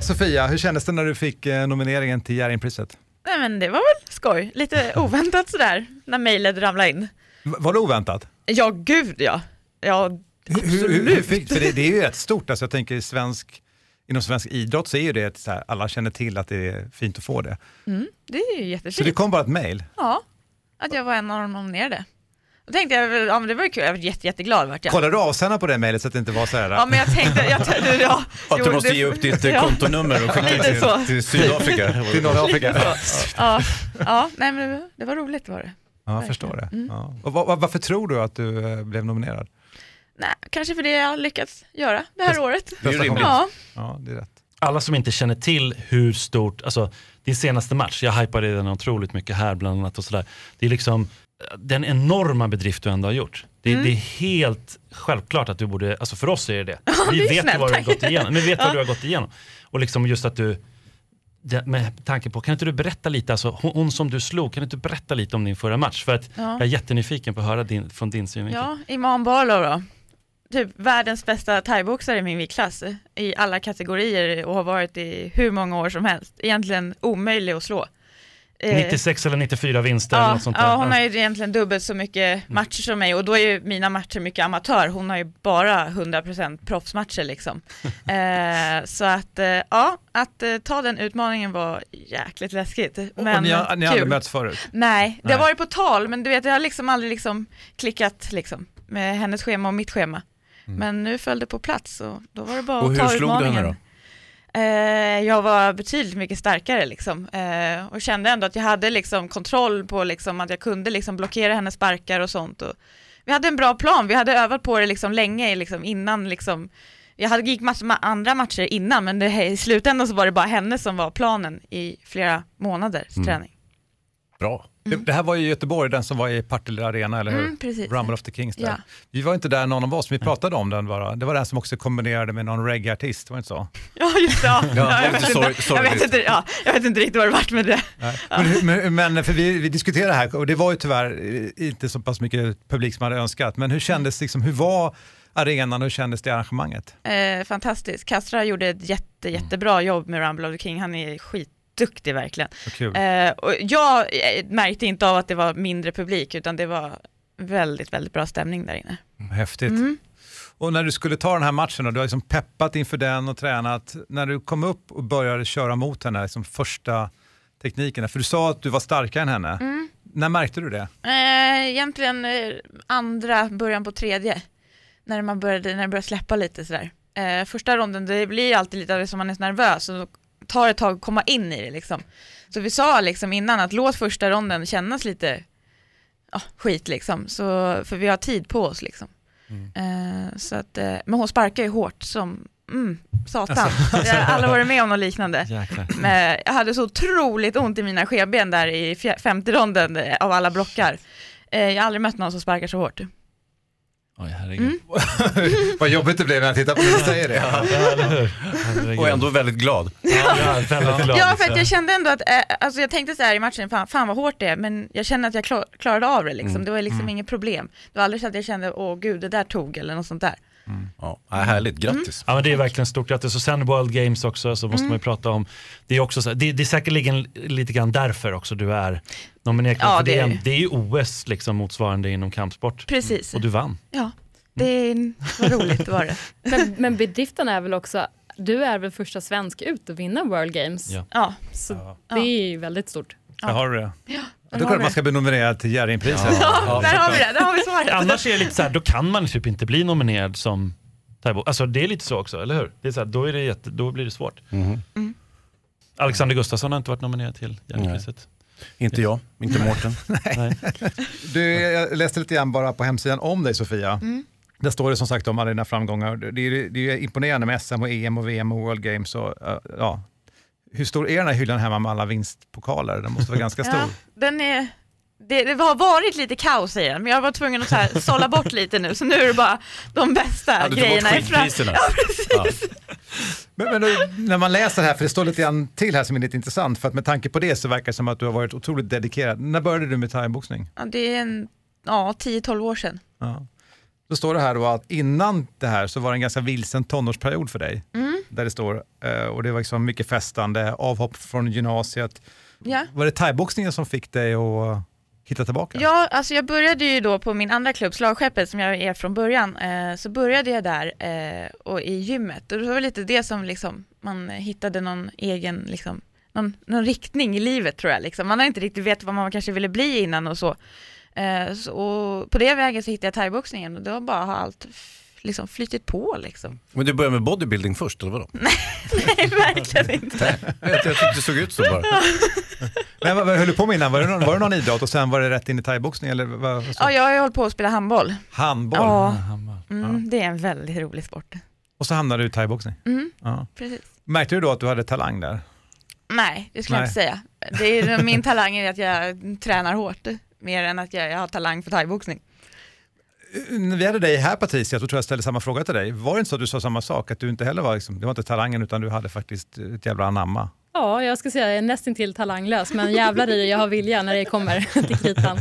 S3: Sofia, hur kändes det när du fick eh, nomineringen till Jerringpriset?
S10: Nej men det var väl skoj, lite oväntat sådär när mejlet ramlade in.
S3: V- Var det oväntat?
S10: Ja gud ja. ja
S3: Hur, hur, hur
S10: absolut.
S3: fick, för det, det är ju rätt stort, alltså jag tänker i svensk, inom svensk idrott så är ju det ett så här, alla känner till att det är fint att få det.
S10: Mm, det är ju
S3: Så det
S10: jättefint.
S3: kom bara ett mejl?
S10: Ja, att jag var en av de nominerade. Då tänkte jag, väl, ja men det var ju kul, jag var jätte, jätteglad vart jag.
S3: Kollade du avsändaren på det mejlet så att det inte var så här?
S10: Ja men jag tänkte, jag tänkte ja.
S1: Att du
S10: Jo,
S1: måste
S10: det-
S1: ge upp ditt eh,
S10: Ja.
S1: kontonummer och skicka
S10: Lite
S1: till,
S10: så.
S1: till Sydafrika.
S3: Till Nordafrika.
S10: Ja, ja nej men det var- det var roligt var det.
S3: Ja, jag förstår det.
S10: Mm.
S3: Ja. Och va- va- varför tror du att du eh, blev nominerad?
S10: Nej, kanske för det jag har lyckats göra det här året.
S3: Det är ju rimligt.
S10: Ja,
S3: Ja, det är rätt.
S2: alla som inte känner till hur stort, alltså din senaste match, jag hypade den otroligt mycket här bland annat och sådär. Det är liksom eh, den enorma bedrift du ändå har gjort. Det,
S10: Mm.
S2: det är helt självklart att du borde, alltså för oss är det det. Vi
S10: det är
S2: vet
S10: snällt,
S2: vad du har
S10: tack.
S2: gått igenom. Men vi vet
S10: Ja.
S2: vad du har gått igenom. Och liksom just att du, det, med tanke på, kan inte du berätta lite, alltså hon, hon som du slog, kan inte du berätta lite om din förra match? För att
S10: Ja.
S2: jag är jättenyfiken på att höra din, från din synvinkel.
S10: ja Iman Barlow då. Typ världens bästa thaiboxare i min viktklass i alla kategorier och har varit i hur många år som helst. Egentligen omöjlig att slå. eh,
S2: 96 eller 94 vinster eller
S10: Ja,
S2: något sånt där.
S10: ja, hon har ju egentligen dubbelt så mycket matcher som mig och då är ju mina matcher mycket amatör. Hon har ju bara 100% proffsmatcher liksom. eh, så att, eh, ja, att eh, ta den utmaningen var jäkligt läskigt. Men
S3: och ni har, ni har aldrig
S10: kul.
S3: mötts förut?
S10: Nej, det har
S3: Nej.
S10: varit på tal men du vet jag har liksom aldrig liksom klickat liksom, med hennes schema och mitt schema. Men nu föll det på plats och då var det bara
S1: Och
S10: att
S1: hur
S10: ta
S1: slog du
S10: utmaningen.
S1: henne då?
S10: Eh, jag var betydligt mycket starkare liksom, eh, och kände ändå att jag hade liksom, kontroll på liksom, att jag kunde liksom, blockera hennes sparkar och sånt. Och vi hade en bra plan, vi hade övat på det liksom, länge liksom, innan. Liksom, jag hade gick massor med andra matcher innan men det, i slutändan så var det bara henne som var planen i flera månaders
S3: Mm.
S10: träning.
S3: Bra. Det, det här var ju i Göteborg, den som var i Partille Arena, eller hur?
S10: Mm, precis.
S3: Rumble of the Kings där.
S10: Ja.
S3: Vi var inte där någon av oss, men vi pratade om den bara. Det var den som också kombinerade med någon reggae-artist, var det inte så?
S10: Ja just det, ja.
S3: Ja, det var
S10: jag,
S3: lite
S10: vet
S3: sorg-
S10: inte, jag, vet
S3: sorgligt.
S10: inte, ja, jag vet inte riktigt vad det vart med det.
S3: Nej. Men, hur- men, men för vi, vi diskuterade det här och det var ju tyvärr eh, inte så pass mycket publik som hade önskat. Men hur kändes liksom, hur var arenan och hur kändes det arrangemanget?
S10: Eh, fantastiskt. Kastra gjorde ett jätte,
S3: Mm.
S10: jättebra jobb med Rumble of the King. Han är skitduktig verkligen.
S3: Vad kul.
S10: Eh, och jag eh, märkte inte av att det var mindre publik, utan det var väldigt, väldigt bra stämning där inne.
S3: Häftigt.
S10: Mm.
S3: Och när du skulle ta den här matchen, och du har liksom peppat inför den och tränat. När du kom upp och började köra mot henne, liksom första teknikerna, för du sa att du var starkare än henne.
S10: Mm.
S3: När märkte du det?
S10: Eh, egentligen eh, andra, början på tredje, när, man började, när det började släppa lite sådär. Eh, första ronden, det blir alltid lite av det som man är så nervös och då tar det ett tag att komma in i det liksom. Så vi sa liksom innan att låt första ronden kännas lite ja, skit liksom, så, för vi har tid på oss liksom. Eh, så att, eh, men hon sparkar ju hårt som mm, satan. Jag har aldrig varit med om något liknande.
S2: Jäklar.
S10: Men Eh, jag hade så otroligt ont i mina skeben där i fjär- femte ronden eh, av alla blockar. Eh, Jag har aldrig mött någon som sparkar så hårt.
S2: Oj, herregud.
S10: Mm.
S3: Vad jobbigt det blev när jag tittade på dig och säger
S2: Alltså,
S3: det.
S1: Och ändå väldigt glad.
S2: Ja, väldigt glad.
S10: Ja, för att jag kände ändå att, eh, alltså jag tänkte så här i matchen, fan, fan vad hårt det är, men jag kände att jag klar, klarade av det liksom.
S1: Mm.
S10: Det var liksom
S1: Mm.
S10: inget problem. Det var aldrig så att jag kände, åh gud, det där tog eller något sånt där.
S1: Ja, äh, härligt, grattis.
S2: Ja, men det är verkligen stort grattis. Och sen World Games också, så måste
S10: Mm.
S2: man ju prata om. Det är, också så, här- det, det är säkerligen lite grann därför också du är nominerad.
S10: Ja,
S2: För
S10: det är
S2: en-
S10: det ju.
S2: det är ju OS liksom motsvarande inom kampsport.
S10: Precis.
S2: Och du vann.
S10: Ja, det var roligt var det.
S9: Men, men bedriften är väl också, du är väl första svensk ut att vinna World Games?
S2: Ja.
S10: Ja.
S9: Så det är ju väldigt stort.
S3: Där har du det.
S10: Ja,
S3: Då är det klart man ska bli nominerad till Jerringpriset.
S9: Ja,
S10: där har vi det, där har vi svaret.
S2: Annars är det lite så här, då kan man typ inte bli nominerad som Taibo. Alltså det är lite så också, eller hur? Det är så här, då, är det jätte, då blir det svårt.
S3: Mm.
S2: Alexander Gustafsson har inte varit nominerad till Jerringpriset.
S1: Inte jag, inte Mårten.
S3: Du, jag läste lite grann bara på hemsidan om dig Sofia.
S10: Mm.
S3: Där står det som sagt om alla dina framgångar. Det är, det är imponerande med SM och EM och VM och World Games. Och, eh, ja. Hur stor är den här hyllan hemma med alla vinstpokaler? Den måste vara ganska stor.
S10: Ja, den är, det, det har varit lite kaos i den, men jag var tvungen att så här, sålla bort lite nu, så nu är det bara de bästa
S3: Ja, du tar bort
S10: grejerna. i fram-
S3: skitpriserna.
S10: Ja, precis.
S3: Men, men då, när man läser det här, för det står lite grann till här som är lite intressant, för att med tanke på det så verkar det som att du har varit otroligt dedikerad. När började du med thaiboxning?
S10: Ja, det är en, ja, 10-12 år sedan.
S3: Ja. Då står det här då att innan det här så var det en ganska vilsen tonårsperiod för dig.
S10: Mm.
S3: Där det står, eh, och det var liksom mycket festande, avhopp från gymnasiet.
S10: Ja.
S3: Var det thaiboxningen som fick dig att hitta tillbaka?
S10: Ja, alltså jag började ju då på min andra klubb, Slagskeppet, som jag är från början, eh, så började jag där eh, och i gymmet. Och det var väl lite det som liksom, man hittade någon egen, liksom, någon, någon riktning i livet tror jag. Liksom. Man har inte riktigt vetat vad man kanske ville bli innan och så. Eh, så och på det vägen så hittade jag thaiboxningen och då bara har allt f- liksom flytit på liksom.
S1: Men du började med bodybuilding först, eller vadå?
S10: Nej, verkligen inte.
S1: Jag, jag tyckte det såg ut så bara.
S3: Men vad, vad höll du på med innan? Var det, någon, var det någon idrott och sen var det rätt in i thaiboxning? Eller vad, vad,
S10: Ja, jag har ju hållit på att spela handboll.
S3: handboll?
S10: Ja, mm, det är en väldigt rolig sport.
S3: Och så hamnade du i thaiboxning?
S10: Mm,
S3: Ja.
S10: precis.
S3: Märkte du då att du hade talang där?
S10: Nej, det skulle jag
S3: Nej.
S10: inte säga. Det är, min talang är att jag tränar hårt, mer än att jag, jag har talang för thaiboxning.
S3: När vi hade dig här Patricia, så tror jag jag ställde samma fråga till dig. Var det inte så att du sa samma sak? Att du inte heller var, liksom, det var inte talangen utan du hade faktiskt ett jävla anamma?
S9: Ja, jag ska säga jag är nästintill talanglös, men jävlar i det, jag har vilja när det kommer till kritan.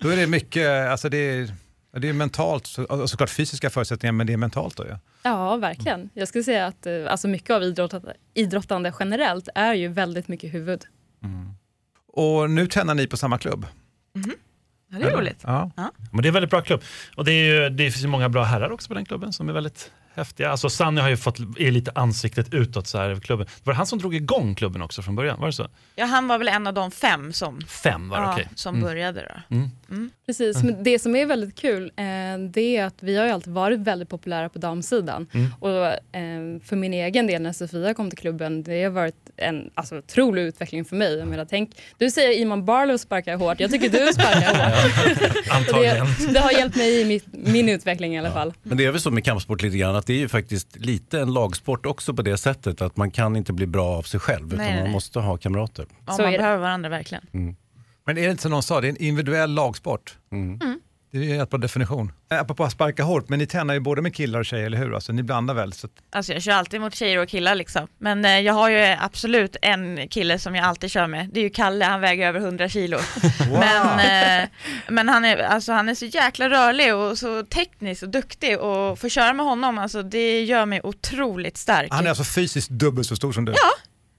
S3: Då är det mycket, alltså det är, ja, det är mentalt, så- och såklart fysiska förutsättningar, men det är mentalt då ju.
S9: Ja, verkligen. Jag skulle säga att eh, alltså mycket av idrottande, idrottande generellt är ju väldigt mycket huvud.
S3: Och nu tränar ni på samma klubb.
S10: Ja, det är roligt.
S3: Ja.
S2: Men det är en väldigt bra klubb. Och det, är ju, det finns ju många bra herrar också på den klubben som är väldigt häftiga. Alltså Sanny har ju fått, är lite ansiktet utåt så här över klubben. Var det han som drog igång klubben också från början? Var det så?
S10: Ja, han var väl en av de fem som,
S2: Fem var det,
S10: ja,
S2: okej.
S10: som
S2: Mm.
S10: började då.
S2: Mm.
S9: Precis, men det som är väldigt kul eh, det är att vi har ju alltid varit väldigt populära på damsidan.
S10: Mm.
S9: Och eh, för min egen del när Sofia kom till klubben, det har varit en alltså, otrolig utveckling för mig. Jag menar, tänk, du säger Iman Barlow sparkar hårt, jag tycker du sparkar hårt. Och
S1: Antagligen.
S9: det, det har hjälpt mig i mitt, min utveckling i alla fall.
S1: Men det är väl så med kampsport lite grann att det är ju faktiskt lite en lagsport också på det sättet att man kan inte bli bra av sig själv
S10: Nej,
S1: utan man
S10: nej.
S1: måste ha kamrater.
S10: Ja, man behöver varandra verkligen.
S2: Mm.
S3: Men är det inte som någon sa, det är en individuell lagsport.
S10: Mm.
S3: Det är ju en jättebra definition. Eh, Apropå att sparka hårt, men ni tränar ju både med killar och tjejer, eller hur? Alltså, ni blandar väl? Så att,
S10: Alltså jag kör alltid mot tjejer och killar liksom. Men eh, jag har ju absolut en kille som jag alltid kör med. Det är ju Kalle, han väger över 100 kilo. Men, eh, men han, är, alltså, han är så jäkla rörlig och så teknisk och duktig och få köra med honom, alltså, det gör mig otroligt stark.
S3: han är alltså fysiskt dubbelt så stor som du?
S10: Ja.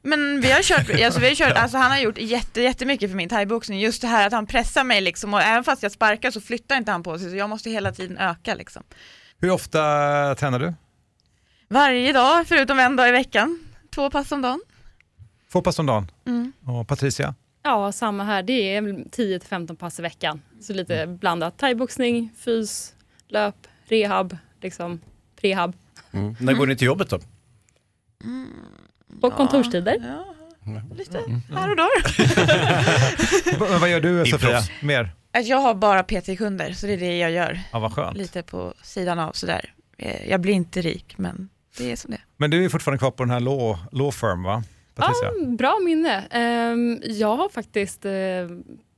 S10: Men vi har kört, alltså vi har kört alltså han har gjort jätte, jättemycket för min thaiboxning, just det här att han pressar mig liksom och även fast jag sparkar så flyttar inte han på sig så jag måste hela tiden öka liksom.
S3: Hur ofta tränar du?
S10: Varje dag förutom en dag i veckan, två pass om dagen.
S3: Två pass om dagen.
S10: Mm.
S3: Och Patricia?
S9: Ja, samma här. Det är väl 10-15 pass i veckan. Så lite blandat. Thaiboxning, fys, löp, rehab, liksom prehab.
S1: Mm. När går ni till jobbet då?
S9: På kontorstider.
S10: Lite här och där.
S3: Men vad gör du Sofia?
S1: proffs.
S3: Mer?
S10: Att Alltså jag har bara PT-kunder så det är det jag gör.
S3: Ja, vad skönt.
S10: Lite på sidan av sådär. Eh, Jag blir inte rik men det är som det är.
S3: Men du är fortfarande kvar på den här law, law firm, va? Patricia?
S9: Ja, bra minne. Ehm, jag har faktiskt eh,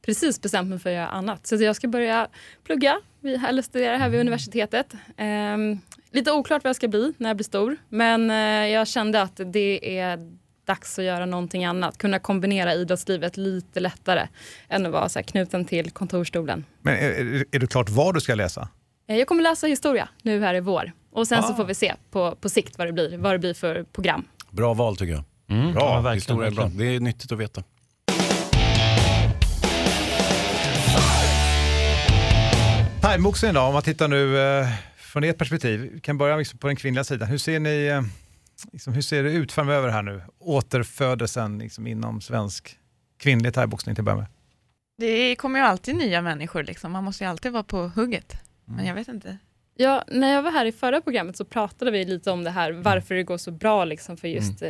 S9: precis bestämt mig för att göra annat. Så jag ska börja plugga vid, eller studera här vid universitetet. Ehm, lite oklart vad jag ska bli när jag blir stor. Men eh, jag kände att det är dags att göra någonting annat. Kunna kombinera idrottslivet lite lättare än att vara så här knuten till kontorsstolen.
S3: Men är, är, är du klart vad du ska läsa?
S9: Eh, Jag kommer läsa historia nu här i vår. Och sen så får vi se på, på sikt vad det blir, vad det blir för program.
S1: Bra val tycker jag.
S10: Mm.
S2: Ja,
S1: Bra,
S2: verkligen,
S1: historia är bra. Det
S2: verkligen.
S1: är nyttigt att veta.
S3: Thaiboxningen då, om man tittar nu eh, från ert perspektiv, vi kan börja liksom på den kvinnliga sidan. Hur ser, ni, eh, liksom, hur ser det ut framöver här nu? Återfödelsen liksom, inom svensk kvinnlig thaiboxning till att börja med.
S10: Det kommer ju alltid nya människor liksom. Man måste ju alltid vara på hugget. Men jag vet inte.
S9: Ja, när jag var här i förra programmet så pratade vi lite om det här, varför det går så bra liksom för just eh,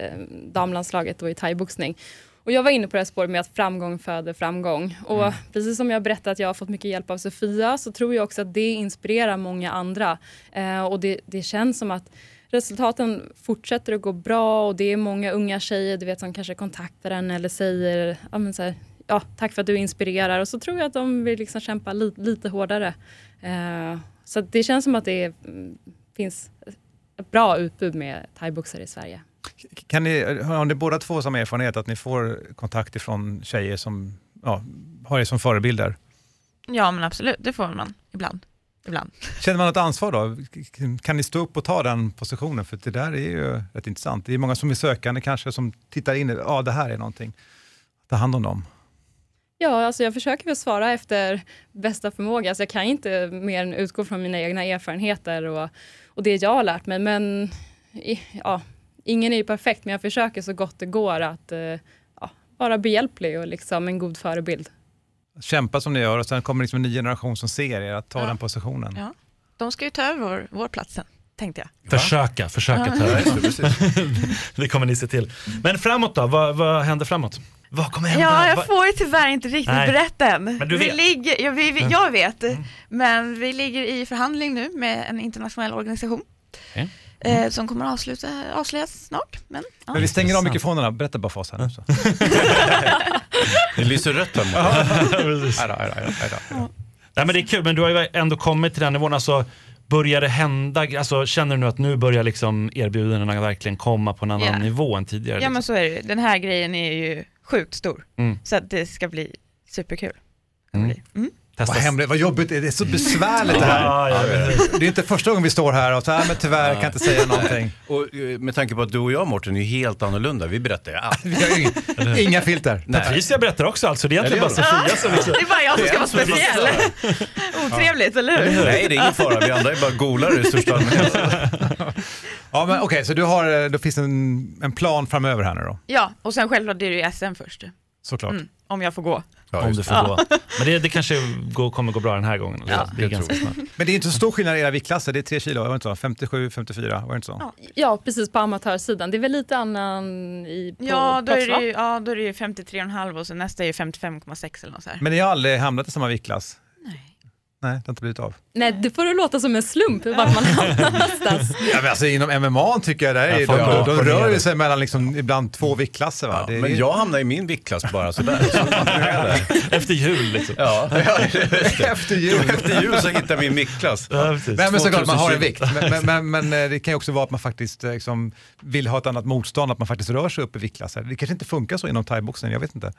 S9: damlandslaget och i thaiboxning. Och jag var inne på det här spåret med att framgång föder framgång. Och precis som jag berättade att jag har fått mycket hjälp av Sofia så tror jag också att det inspirerar många andra. Eh, och det, det känns som att resultaten fortsätter att gå bra och det är många unga tjejer du vet, som kanske kontaktar en eller säger ja, men så här, ja, tack för att du inspirerar. Och så tror jag att de vill liksom kämpa li, lite hårdare. Eh, så att det känns som att det är, mm, finns ett bra utbud med thaiboxare i Sverige.
S3: Kan ni, har ni båda två samma erfarenhet, att ni får kontakt ifrån tjejer som ja, har er som förebilder?
S10: Ja men absolut, det får man ibland. Ibland.
S3: Känner man något ansvar då? Kan ni stå upp och ta den positionen? För det där är ju rätt intressant. Det är många som är sökande kanske, som tittar in, ja det här är någonting. Ta hand om dem.
S9: Ja, alltså jag försöker väl svara efter bästa förmåga. Alltså jag kan inte mer än utgå från mina egna erfarenheter och, och det jag har lärt mig. Men i- ja, ingen är ju perfekt, men jag försöker så gott det går att eh, ja, vara behjälplig och liksom en god förebild.
S3: Kämpa som ni gör och sen kommer liksom en ny generation som ser er att ta
S10: Ja.
S3: den positionen.
S10: Ja. De ska ju ta över vår, vår plats sen, tänkte jag.
S2: Försöka, försöka
S10: Ja.
S2: ta
S10: Ja,
S2: över.
S10: just det,
S2: Det kommer ni se till. Men framåt då, vad, vad händer framåt? Vad kommer hända?
S10: Ja,
S2: Vad-
S10: jag får ju tyvärr inte riktigt
S2: Nej.
S10: berätta än.
S2: Men du
S10: vi
S2: vet.
S10: ligger, ja, vi, vi, jag vet, men vi ligger i förhandling nu med en internationell organisation
S2: Okej.
S10: eh, som kommer att avsluta, avslöjas snart. Men, ja.
S3: Men vi stänger av mikrofonerna, berätta bara för oss här nu. Så.
S1: Det lyser rött här
S2: Precis. Nej, men det är kul, men du har ju ändå kommit till den nivån. Alltså, börjar det hända? Alltså, känner du nu att nu börjar liksom erbjudandena verkligen komma på en annan
S10: Ja.
S2: nivå än tidigare? Liksom,
S10: ja men så är det ju. Den här grejen är ju sjukt stor,
S2: Mm.
S10: så att det ska bli superkul.
S2: Mm.
S3: Vad hemligt, vad jobbigt, det är så besvärligt
S1: Ja,
S3: det här.
S1: ja, precis.
S3: det är inte första gången vi står här och så här, men tyvärr kan jag inte säga någonting.
S1: Och eh, med tanke på att du och jag Mårten är ju helt annorlunda, vi berättar ju allt.
S3: Inga filter.
S2: Patricia berättar också allt, så det är egentligen bara
S1: Eller hur?
S2: Sofia som...
S10: Ah! Det är bara jag som ska vara speciell. Otrevligt, eller hur?
S1: Nej, det är ingen fara, vi andra är bara golare i största allmänhet.
S3: Ja, men okej, så du har, eh, då finns en, en plan framöver här nu då,
S10: Ja, och sen självklart är det ju SM först.
S3: såklart.
S10: Mm, om jag får gå.
S2: om du får
S10: Ja.
S2: gå. Men det, det kanske går, kommer gå bra den här gången.
S10: Ja.
S2: det är ganska snart.
S3: Men det är inte så stor skillnad i era viktklasser, det är tre kilo, var det inte så? 57, 54, var det inte så?
S9: Ja, precis på amatörsidan. Det är väl lite annan i, på
S10: Ja, då är
S9: proffs, va?
S10: det ju, ja, då är det ju 53,5 och sen nästa är ju 55,6 eller något så här.
S3: Men ni har aldrig hamnat i samma viktklass? Nej, det har inte blivit av.
S9: Nej, det får du låta som en slump vart man hamnar någonstans.
S3: Ja, men alltså, inom MMA tycker jag det här är,
S1: Ja, folk
S3: de, de,
S1: går upp och
S3: de rör
S1: ner.
S3: ju sig mellan liksom, ibland två viktklasser. Va? det är,
S1: Men jag hamnar i min viktklass bara sådär. Så nu är jag där.
S2: Efter jul liksom.
S1: Ja,
S3: efter jul.
S1: Efter jul så hittar vi min viktklass.
S2: Ja, precis.
S3: Nej, men såklart, man har en
S1: 2020.
S3: vikt. Men, men, men, men eh, det kan ju också vara att man faktiskt eh, liksom, vill ha ett annat motstånd, att man faktiskt rör sig upp i viktklasser. Det kanske inte funkar så inom thaiboxning, jag vet inte.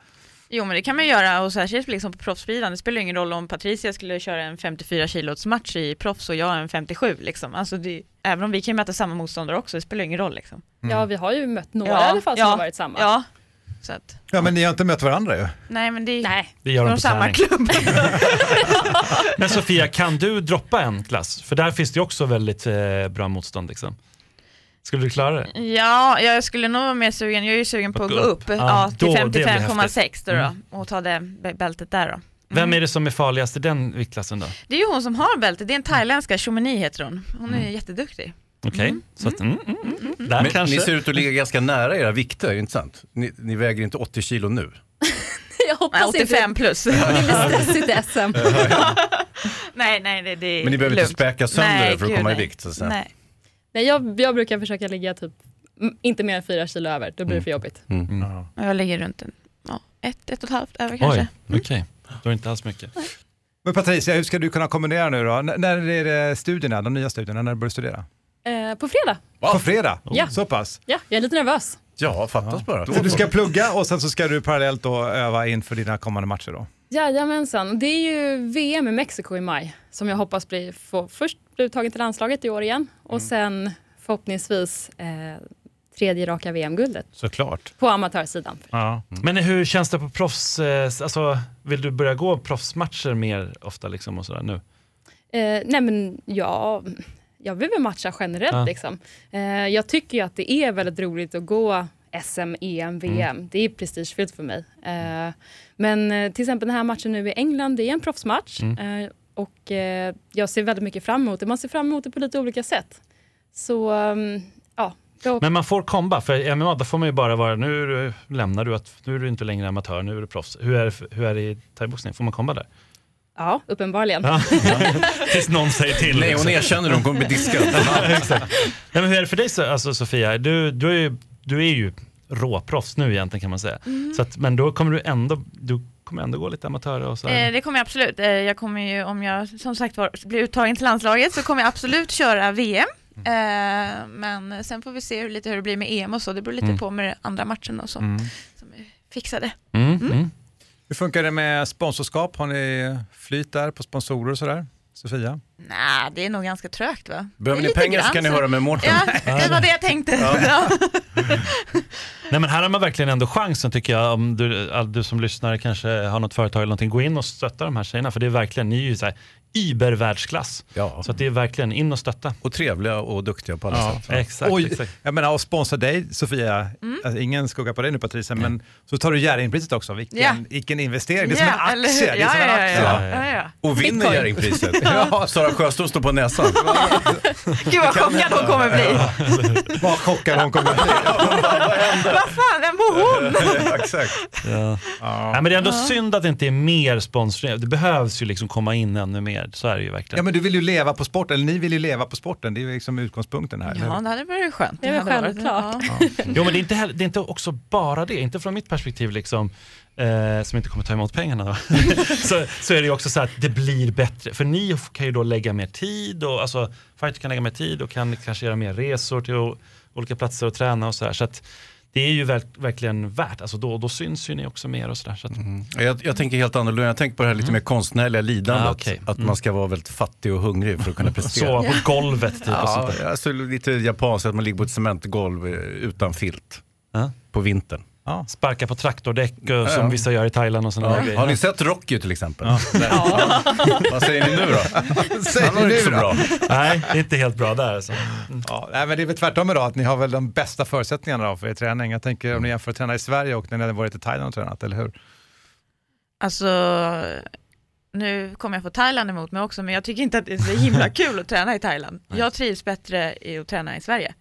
S10: Jo men det kan man ju göra och särskilt liksom på proffssidan. Det spelar ju ingen roll om Patricia skulle köra en 54 kilos match i proffs och jag en 57 liksom. Alltså det, även om vi kan ju möta samma motståndare också, det spelar ju ingen roll liksom.
S9: Mm. Ja, vi har ju mött några
S10: Ja,
S9: i alla fall som
S10: ja,
S9: har varit samma.
S10: Ja, så att,
S3: Ja, men ni har inte mött varandra ju.
S10: nej men det
S9: nej.
S2: Det gör de
S10: från
S2: på
S10: samma
S2: träning.
S10: klubb.
S2: Men Sofia, kan du droppa en klass? För där finns det ju också väldigt eh, bra motstånd. Liksom. Skulle du klara
S10: Mm.
S2: det?
S10: Ja, jag skulle nog vara mer sugen, jag är ju sugen på att gå upp,
S2: Ja,
S10: ja, till
S2: då, det blir
S10: 55,6 då, då
S2: Mm.
S10: och ta det b- bältet där då.
S2: Vem är det som är farligast i den viktklassen då?
S10: Det är ju hon som har bältet, det är en thailändska, Chomini heter hon. Hon är
S2: Mm.
S10: jätteduktig.
S2: Okej, så att, mm, mm, mm, mm. där
S1: Men
S2: kanske.
S1: Ni ser ut att ligga ganska nära era vikter, inte sant? Ni, ni väger inte 80 kilo nu.
S9: Jag hoppas
S10: Nej, 85
S9: inte.
S10: plus.
S9: Det blir stressigt i SM.
S10: nej, nej, det, det är
S1: Men ni behöver inte
S10: lugnt.
S1: späka sönder
S10: Nej,
S1: det för att
S10: gud,
S1: komma i
S10: nej.
S1: vikt, så att säga.
S10: Nej.
S9: Nej, jag, jag brukar försöka ligga typ m- inte mer än fyra kilo över, då blir det för jobbigt.
S10: Och Jag ligger runt en, ja, ett, ett och ett halvt över kanske. Mm.
S2: Oj, okej. Då är det inte alls mycket.
S3: Men Patricia, hur ska du kunna kombinera nu då? N- när är det studierna, de nya studierna, när du börjar studera?
S9: Eh, på fredag?
S3: På fredag?
S9: Ja.
S3: Så pass?
S9: Ja, jag är lite nervös.
S1: Ja, fattas bara.
S3: Så du ska plugga och sen så ska du parallellt då öva inför dina kommande matcher då?
S9: Jajamensan. Det är ju VM i Mexiko i maj som jag hoppas blir, få, först blir uttagen till landslaget i år igen och sen förhoppningsvis eh, tredje raka VM-guldet
S3: Såklart.
S9: på amatörsidan.
S2: Ja. Men hur känns det på proffs? eh, Alltså, vill du börja gå proffsmatcher mer ofta liksom och sådär nu?
S9: Eh, nej men ja, jag vill väl matcha generellt.
S2: Ja.
S9: Liksom. Eh, jag tycker ju att det är väldigt roligt att gå E SM, EM, VM. Det är prestigefyllt för mig. Eh, men eh, till exempel den här matchen nu i England, det är en proffsmatch.
S11: Mm.
S9: Eh, och eh, jag ser väldigt mycket fram emot det. Man ser fram emot det på lite olika sätt. Så um, ja, jag,
S2: Men man får komba, för i MMA då får man ju bara vara, nu är du- lämnar du, att, nu är du inte längre amatör, nu är du proffs. Hur är det, hur är det i thaiboxning, får man komba där?
S9: ja uppenbarligen.
S2: Ja. Tills någon säger till.
S1: Nej, hon erkänner det, hon kommer bli diskad.
S2: Ja, exakt. Nej, men hur är det för dig så- alltså, Sofia? Du, du, är ju, du är ju råproffs nu egentligen kan man säga. Så att, men då kommer du ändå, du kommer ändå gå lite amatör och så här.
S10: Eh, det kommer jag absolut. Eh, jag kommer ju, om jag som sagt var blir uttagen till landslaget så kommer jag absolut köra VM. Eh, men sen får vi se hur, lite hur det blir med EM och så. Det beror lite
S2: Mm.
S10: på med den andra matchen då, som, som är fixade.
S2: Mm,
S3: Hur funkar det med sponsorskap? Har ni flyt där på sponsorer och sådär? Sofia?
S10: Nej, det är nog ganska trögt va?
S1: Behöver ni
S10: Det är lite
S1: pengar så
S10: grann
S1: kan ni
S10: så.
S1: höra med Mårten.
S10: Ja, det var det jag tänkte.
S2: Nej men här har man verkligen ändå chansen tycker jag. Om du, all- du som lyssnar kanske har något företag eller någonting, gå in och stötta de här tjejerna. För det är verkligen, ni är ju så här ibervärldsklass. Så att det är verkligen in och stötta.
S1: Och trevliga och duktiga på alla sätt.
S2: Exakt,
S3: Oj,
S2: exakt.
S3: Jag menar, och sponsra dig Sofia,
S10: Mm.
S3: alltså, ingen skugga på dig nu Patricia, men så tar du Jerringpriset också. Vilken,
S10: Ja.
S3: vilken investering, det är
S10: Ja,
S3: som en
S10: eller
S3: aktie.
S10: hur?
S3: Det är som
S10: Ja,
S3: en
S10: ja,
S3: aktie.
S10: ja, ja. Ja, ja.
S1: Och vinner
S10: Bitcoin.
S1: Jerringpriset. ja. Sara Sjöström står på näsan.
S10: Gud vad chockad hon kommer bli.
S3: Vad chockad hon kommer bli.
S10: Vad fan, vem bor hon?
S1: Exakt.
S2: Ja. Nej, men det är ändå synd att det inte är mer sponsring. Det behövs ju liksom komma in ännu mer. Så är det ju verkligen.
S3: Ja, men du vill ju leva på sporten, eller ni vill ju leva på sporten, det är ju liksom utgångspunkten här.
S10: Ja, det hade varit skönt.
S9: Det är väl
S10: hade varit-
S9: självklart.
S10: ja.
S2: Jo, men det är, inte heller, det är inte också bara det, inte från mitt perspektiv, liksom, eh, som inte kommer ta emot pengarna, då. så, så är det ju också så att det blir bättre. För ni kan ju då lägga mer tid, och, alltså, fighter kan lägga mer tid och kan kanske göra mer resor till o- olika platser och träna och så här. Så att det är ju verk, verkligen värt, alltså då, då syns ju ni också mer och sådär. Så att,
S1: Mm, Jag, jag tänker helt annorlunda, jag tänker på det här lite mer konstnärliga lidandet.
S2: Mm. Ah, okej.
S1: Att
S2: Mm.
S1: man ska vara väldigt fattig och hungrig för att kunna prestera.
S2: Sova på golvet typ och
S1: Ja,
S2: sånt där.
S1: alltså, lite japanskt, att man ligger på ett cementgolv eh, utan filt
S2: Ah.
S1: på vintern.
S2: Sparka på traktor-däck och,
S1: Ja.
S2: som vissa gör i Thailand och sådana
S1: Ja.
S2: där grejer.
S1: Har ni sett Rocky till exempel? Vad säger ni nu då?
S3: Säger
S1: Han var
S3: ni
S1: inte så
S3: nu då?
S1: bra.
S2: Nej, det är inte helt bra där. Alltså.
S3: Ja, nej, men det är väl tvärtom idag, att ni har väl de bästa förutsättningarna då för er träning. Jag tänker om ni jämför att träna i Sverige och när ni hade varit i Thailand och tränat, eller hur?
S10: Alltså, nu kommer jag få Thailand emot mig också, men jag tycker inte att det är så himla kul att träna i Thailand. Jag trivs bättre i att träna i Sverige.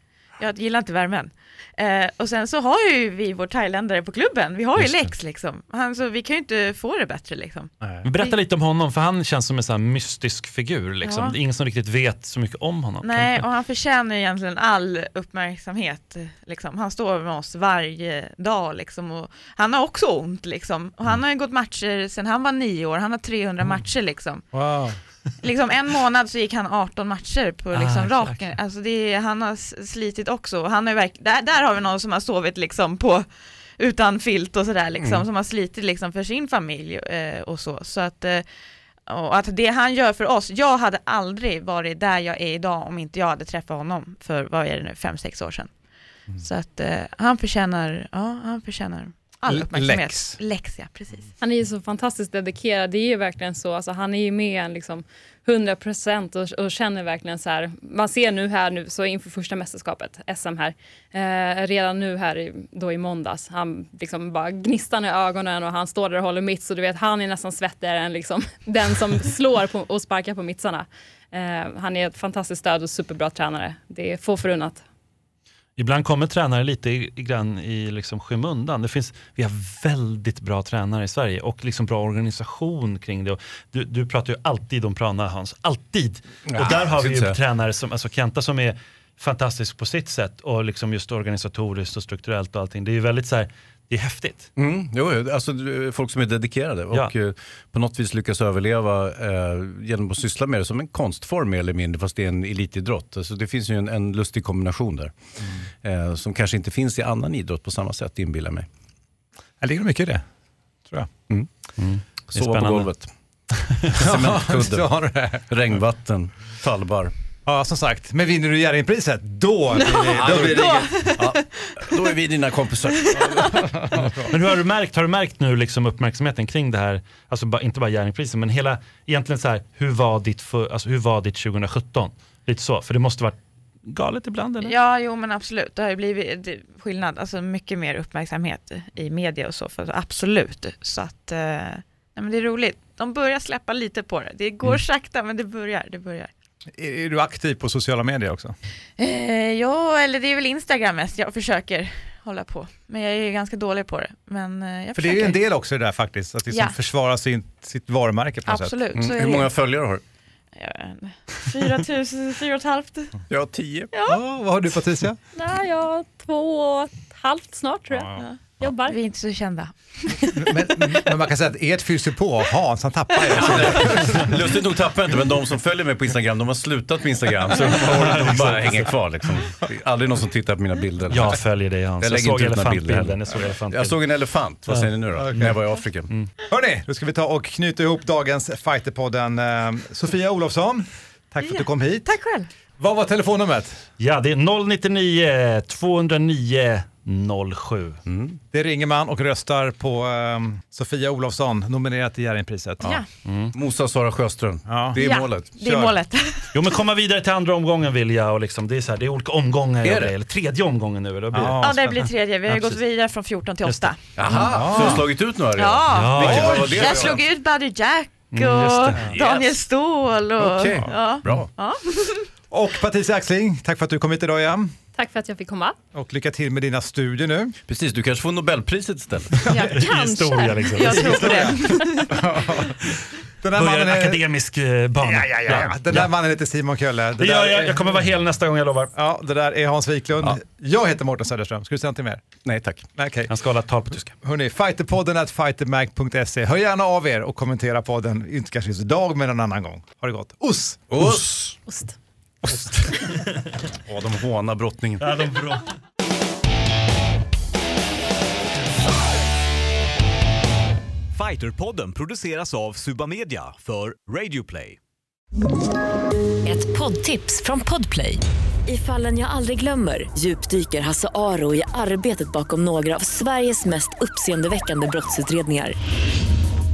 S10: Jag gillar inte värmen. Eh, och sen så har ju vi vår thailändare på klubben, vi har ju
S2: Just det.
S10: Lex liksom. Han, så vi kan ju inte få det bättre liksom.
S2: Vi berättar lite om honom, för han känns som en sån här mystisk figur. Liksom.
S10: Ja.
S2: Det är ingen som riktigt vet så mycket om honom.
S10: Nej, och han förtjänar ju egentligen all uppmärksamhet. Liksom. Han står med oss varje dag liksom, och han har också ont. Liksom. Och han har ju gått matcher sedan han var nio år, han har 300 matcher. Liksom.
S3: Wow.
S10: Liksom, en månad så gick han 18 matcher på
S2: Ah,
S10: liksom,
S2: okej,
S10: raken. Alltså, det är, han har s- slitit också. Och Han har ju verk- där, där har vi någon som har sovit liksom, på, utan filt och sådär, liksom,
S11: Mm.
S10: som har slitit liksom, för sin familj eh, och så. så att, eh, och att det han gör för oss, jag hade aldrig varit där jag är idag om inte jag hade träffat honom för, vad är det nu, fem sex år sedan. Så att eh, han förtjänar, ja han förtjänar all
S9: L-
S10: uppmärksamhet.
S9: Lex.
S10: Lex, ja precis.
S9: Han är ju så fantastiskt dedikerad. Det är ju verkligen så. Alltså, han är ju med en liksom 100 procent och, och känner verkligen så här. Man ser nu här nu, så inför första mästerskapet, SM här, eh, redan nu här i, då i måndags, han liksom bara gnistan i ögonen och han står där och håller mitt. Så du vet, han är nästan svettigare än liksom den som slår på, och sparkar på mittsarna. Eh, han är ett fantastiskt stöd och superbra tränare. Det är få förunnat.
S2: Ibland kommer tränare lite i, i grann i liksom skymundan. Det finns, vi har väldigt bra tränare i Sverige och liksom bra organisation kring det. Och Du, du pratar ju alltid om Prana Hans, alltid.
S1: Ja,
S2: och där har
S1: jag
S2: vi
S1: ska
S2: ju
S1: inte säga.
S2: tränare som alltså Kenta som är fantastisk på sitt sätt och liksom just organisatoriskt och strukturellt och allting. Det är ju väldigt så här, det är häftigt.
S1: Mm, jo, jo, alltså du- folk som är dedikerade och
S2: Ja.
S1: eh, på något vis lyckas överleva eh, genom att syssla med det som en konstform mer eller mindre, fast det är en elitidrott. Alltså, det finns ju en, en lustig kombination där, eh, som kanske inte finns i annan idrott på samma sätt, inbillar mig.
S3: Det ligger mycket i det, tror jag.
S1: Mm.
S2: Det är
S1: Sova på
S2: spännande.
S1: golvet.
S3: så har du
S1: Cementkudde,
S3: det.
S1: regnvatten, tallbar.
S3: Ja, som sagt, men vinner du Jerringpriset, då blir det...
S1: då, blir det inget. ja, då är vi dina kompisar.
S2: Men hur har du märkt, har du märkt nu liksom uppmärksamheten kring det här, alltså ba, inte bara Jerringpriset, men hela, egentligen så här, hur var ditt, för, alltså, hur var ditt 2017? Lite så, för det måste varit galet ibland eller?
S10: Ja, jo men absolut, det har ju blivit det- skillnad, alltså mycket mer uppmärksamhet i media och så, för absolut. Så att, eh, nej men det är roligt. De börjar släppa lite på det, det går
S3: Mm.
S10: sakta men det börjar, det börjar.
S3: Är är du aktiv på sociala medier också?
S10: Eh, ja, eller det är väl Instagram mest jag försöker hålla på, men jag är ju ganska dålig på det. Men eh, jag
S3: För det är
S10: försöker.
S3: ju en del också i det där faktiskt, att liksom
S10: Ja.
S3: försvara sin, sitt varumärke på något
S10: Absolut,
S3: sätt.
S10: så är Mm. Hur det. många
S1: följare har du?
S10: 4 000, 4 och ett halvt.
S1: Jag har tio.
S3: vad har du Patricia?
S9: Nej, jag har två och ett halvt snart tror jag. Jobbar.
S10: Vi är inte så kända.
S3: Men man kan säga att ert fylls ju på av Hans, han tappar ju.
S1: Lustigt nog tappar jag inte, men de som följer mig på Instagram, de har slutat med Instagram. Så de bara- de bara hänger kvar liksom. Det är aldrig någon som tittar på mina bilder.
S2: Jag följer dig, Hans. Jag
S1: lägger
S2: såg
S1: inte ut några
S2: elefantbilden,
S1: bilder.
S2: jag såg elefantbilden.
S1: Jag såg en elefant, vad
S2: Ja.
S1: säger ni nu då?
S2: Okej.
S1: När jag var i Afrika.
S3: Hörni, då ska vi ta och knyta ihop dagens Fighterpodden. Eh, Sofia Olofsson, tack för att du kom hit.
S10: Tack själv.
S3: Vad var telefonnumret?
S2: Ja, det är 099 209 07.
S3: Det ringer man och röstar på eh, Sofia Olofsson, nominerad till Jerringpriset.
S10: Ja.
S1: Mosa Sara Sjöström,
S10: Det är Ja, målet. det är målet.
S2: Jo men komma vidare till andra omgången vill jag och liksom, det är så här, det är olika omgångar,
S1: Är
S2: av
S1: det?
S2: Eller tredje omgången nu. Då blir
S10: Ja, det blir tredje, vi har ju
S2: Ja,
S10: gått vidare från 14 till 8.
S1: Aha, så du har slagit ut några
S10: Ja,
S1: redan? Vilka var det?
S10: jag slog ut Buddy Jack och
S1: Mm, just det.
S10: Daniel
S1: Yes.
S10: Ståhl och...
S3: Okej,
S10: Ja.
S1: bra.
S10: Ja.
S3: Och Patricia Axling, tack för att du kom hit idag igen.
S9: Tack för att jag fick komma.
S3: Och lycka till med dina studier nu.
S1: Precis, du kanske får Nobelpriset istället.
S9: Ja, kanske.
S2: liksom.
S9: Jag tror det.
S3: Den
S2: Börjar en
S3: är-
S2: akademisk eh, bana.
S3: Ja, ja, ja. Den där
S2: Ja.
S3: mannen heter Simon Kölle.
S2: Det gör jag. Jag kommer vara hel nästa gång, jag lovar.
S3: Ja, det där är Hans Wiklund. Jag heter Mårten Söderström. Ska du säga någonting mer?
S1: Nej tack.
S3: Okay.
S2: Han ska hålla ett tal på tyska.
S3: Hörrni, fighterpodden at fightermag.se. Hör gärna av er och kommentera podden. Inte kanske just idag, men en annan gång. Ha det gott. Oss!
S1: Oss!
S9: Ost.
S1: Ja, de hånar brottningen.
S2: Ja, de bra.
S1: Fighterpodden produceras av Subamedia för Radio Play.
S10: Ett poddtips från Podplay. I fallen jag aldrig glömmer djupdyker Hasse Aro i arbetet bakom några av Sveriges mest uppseendeväckande brottsutredningar.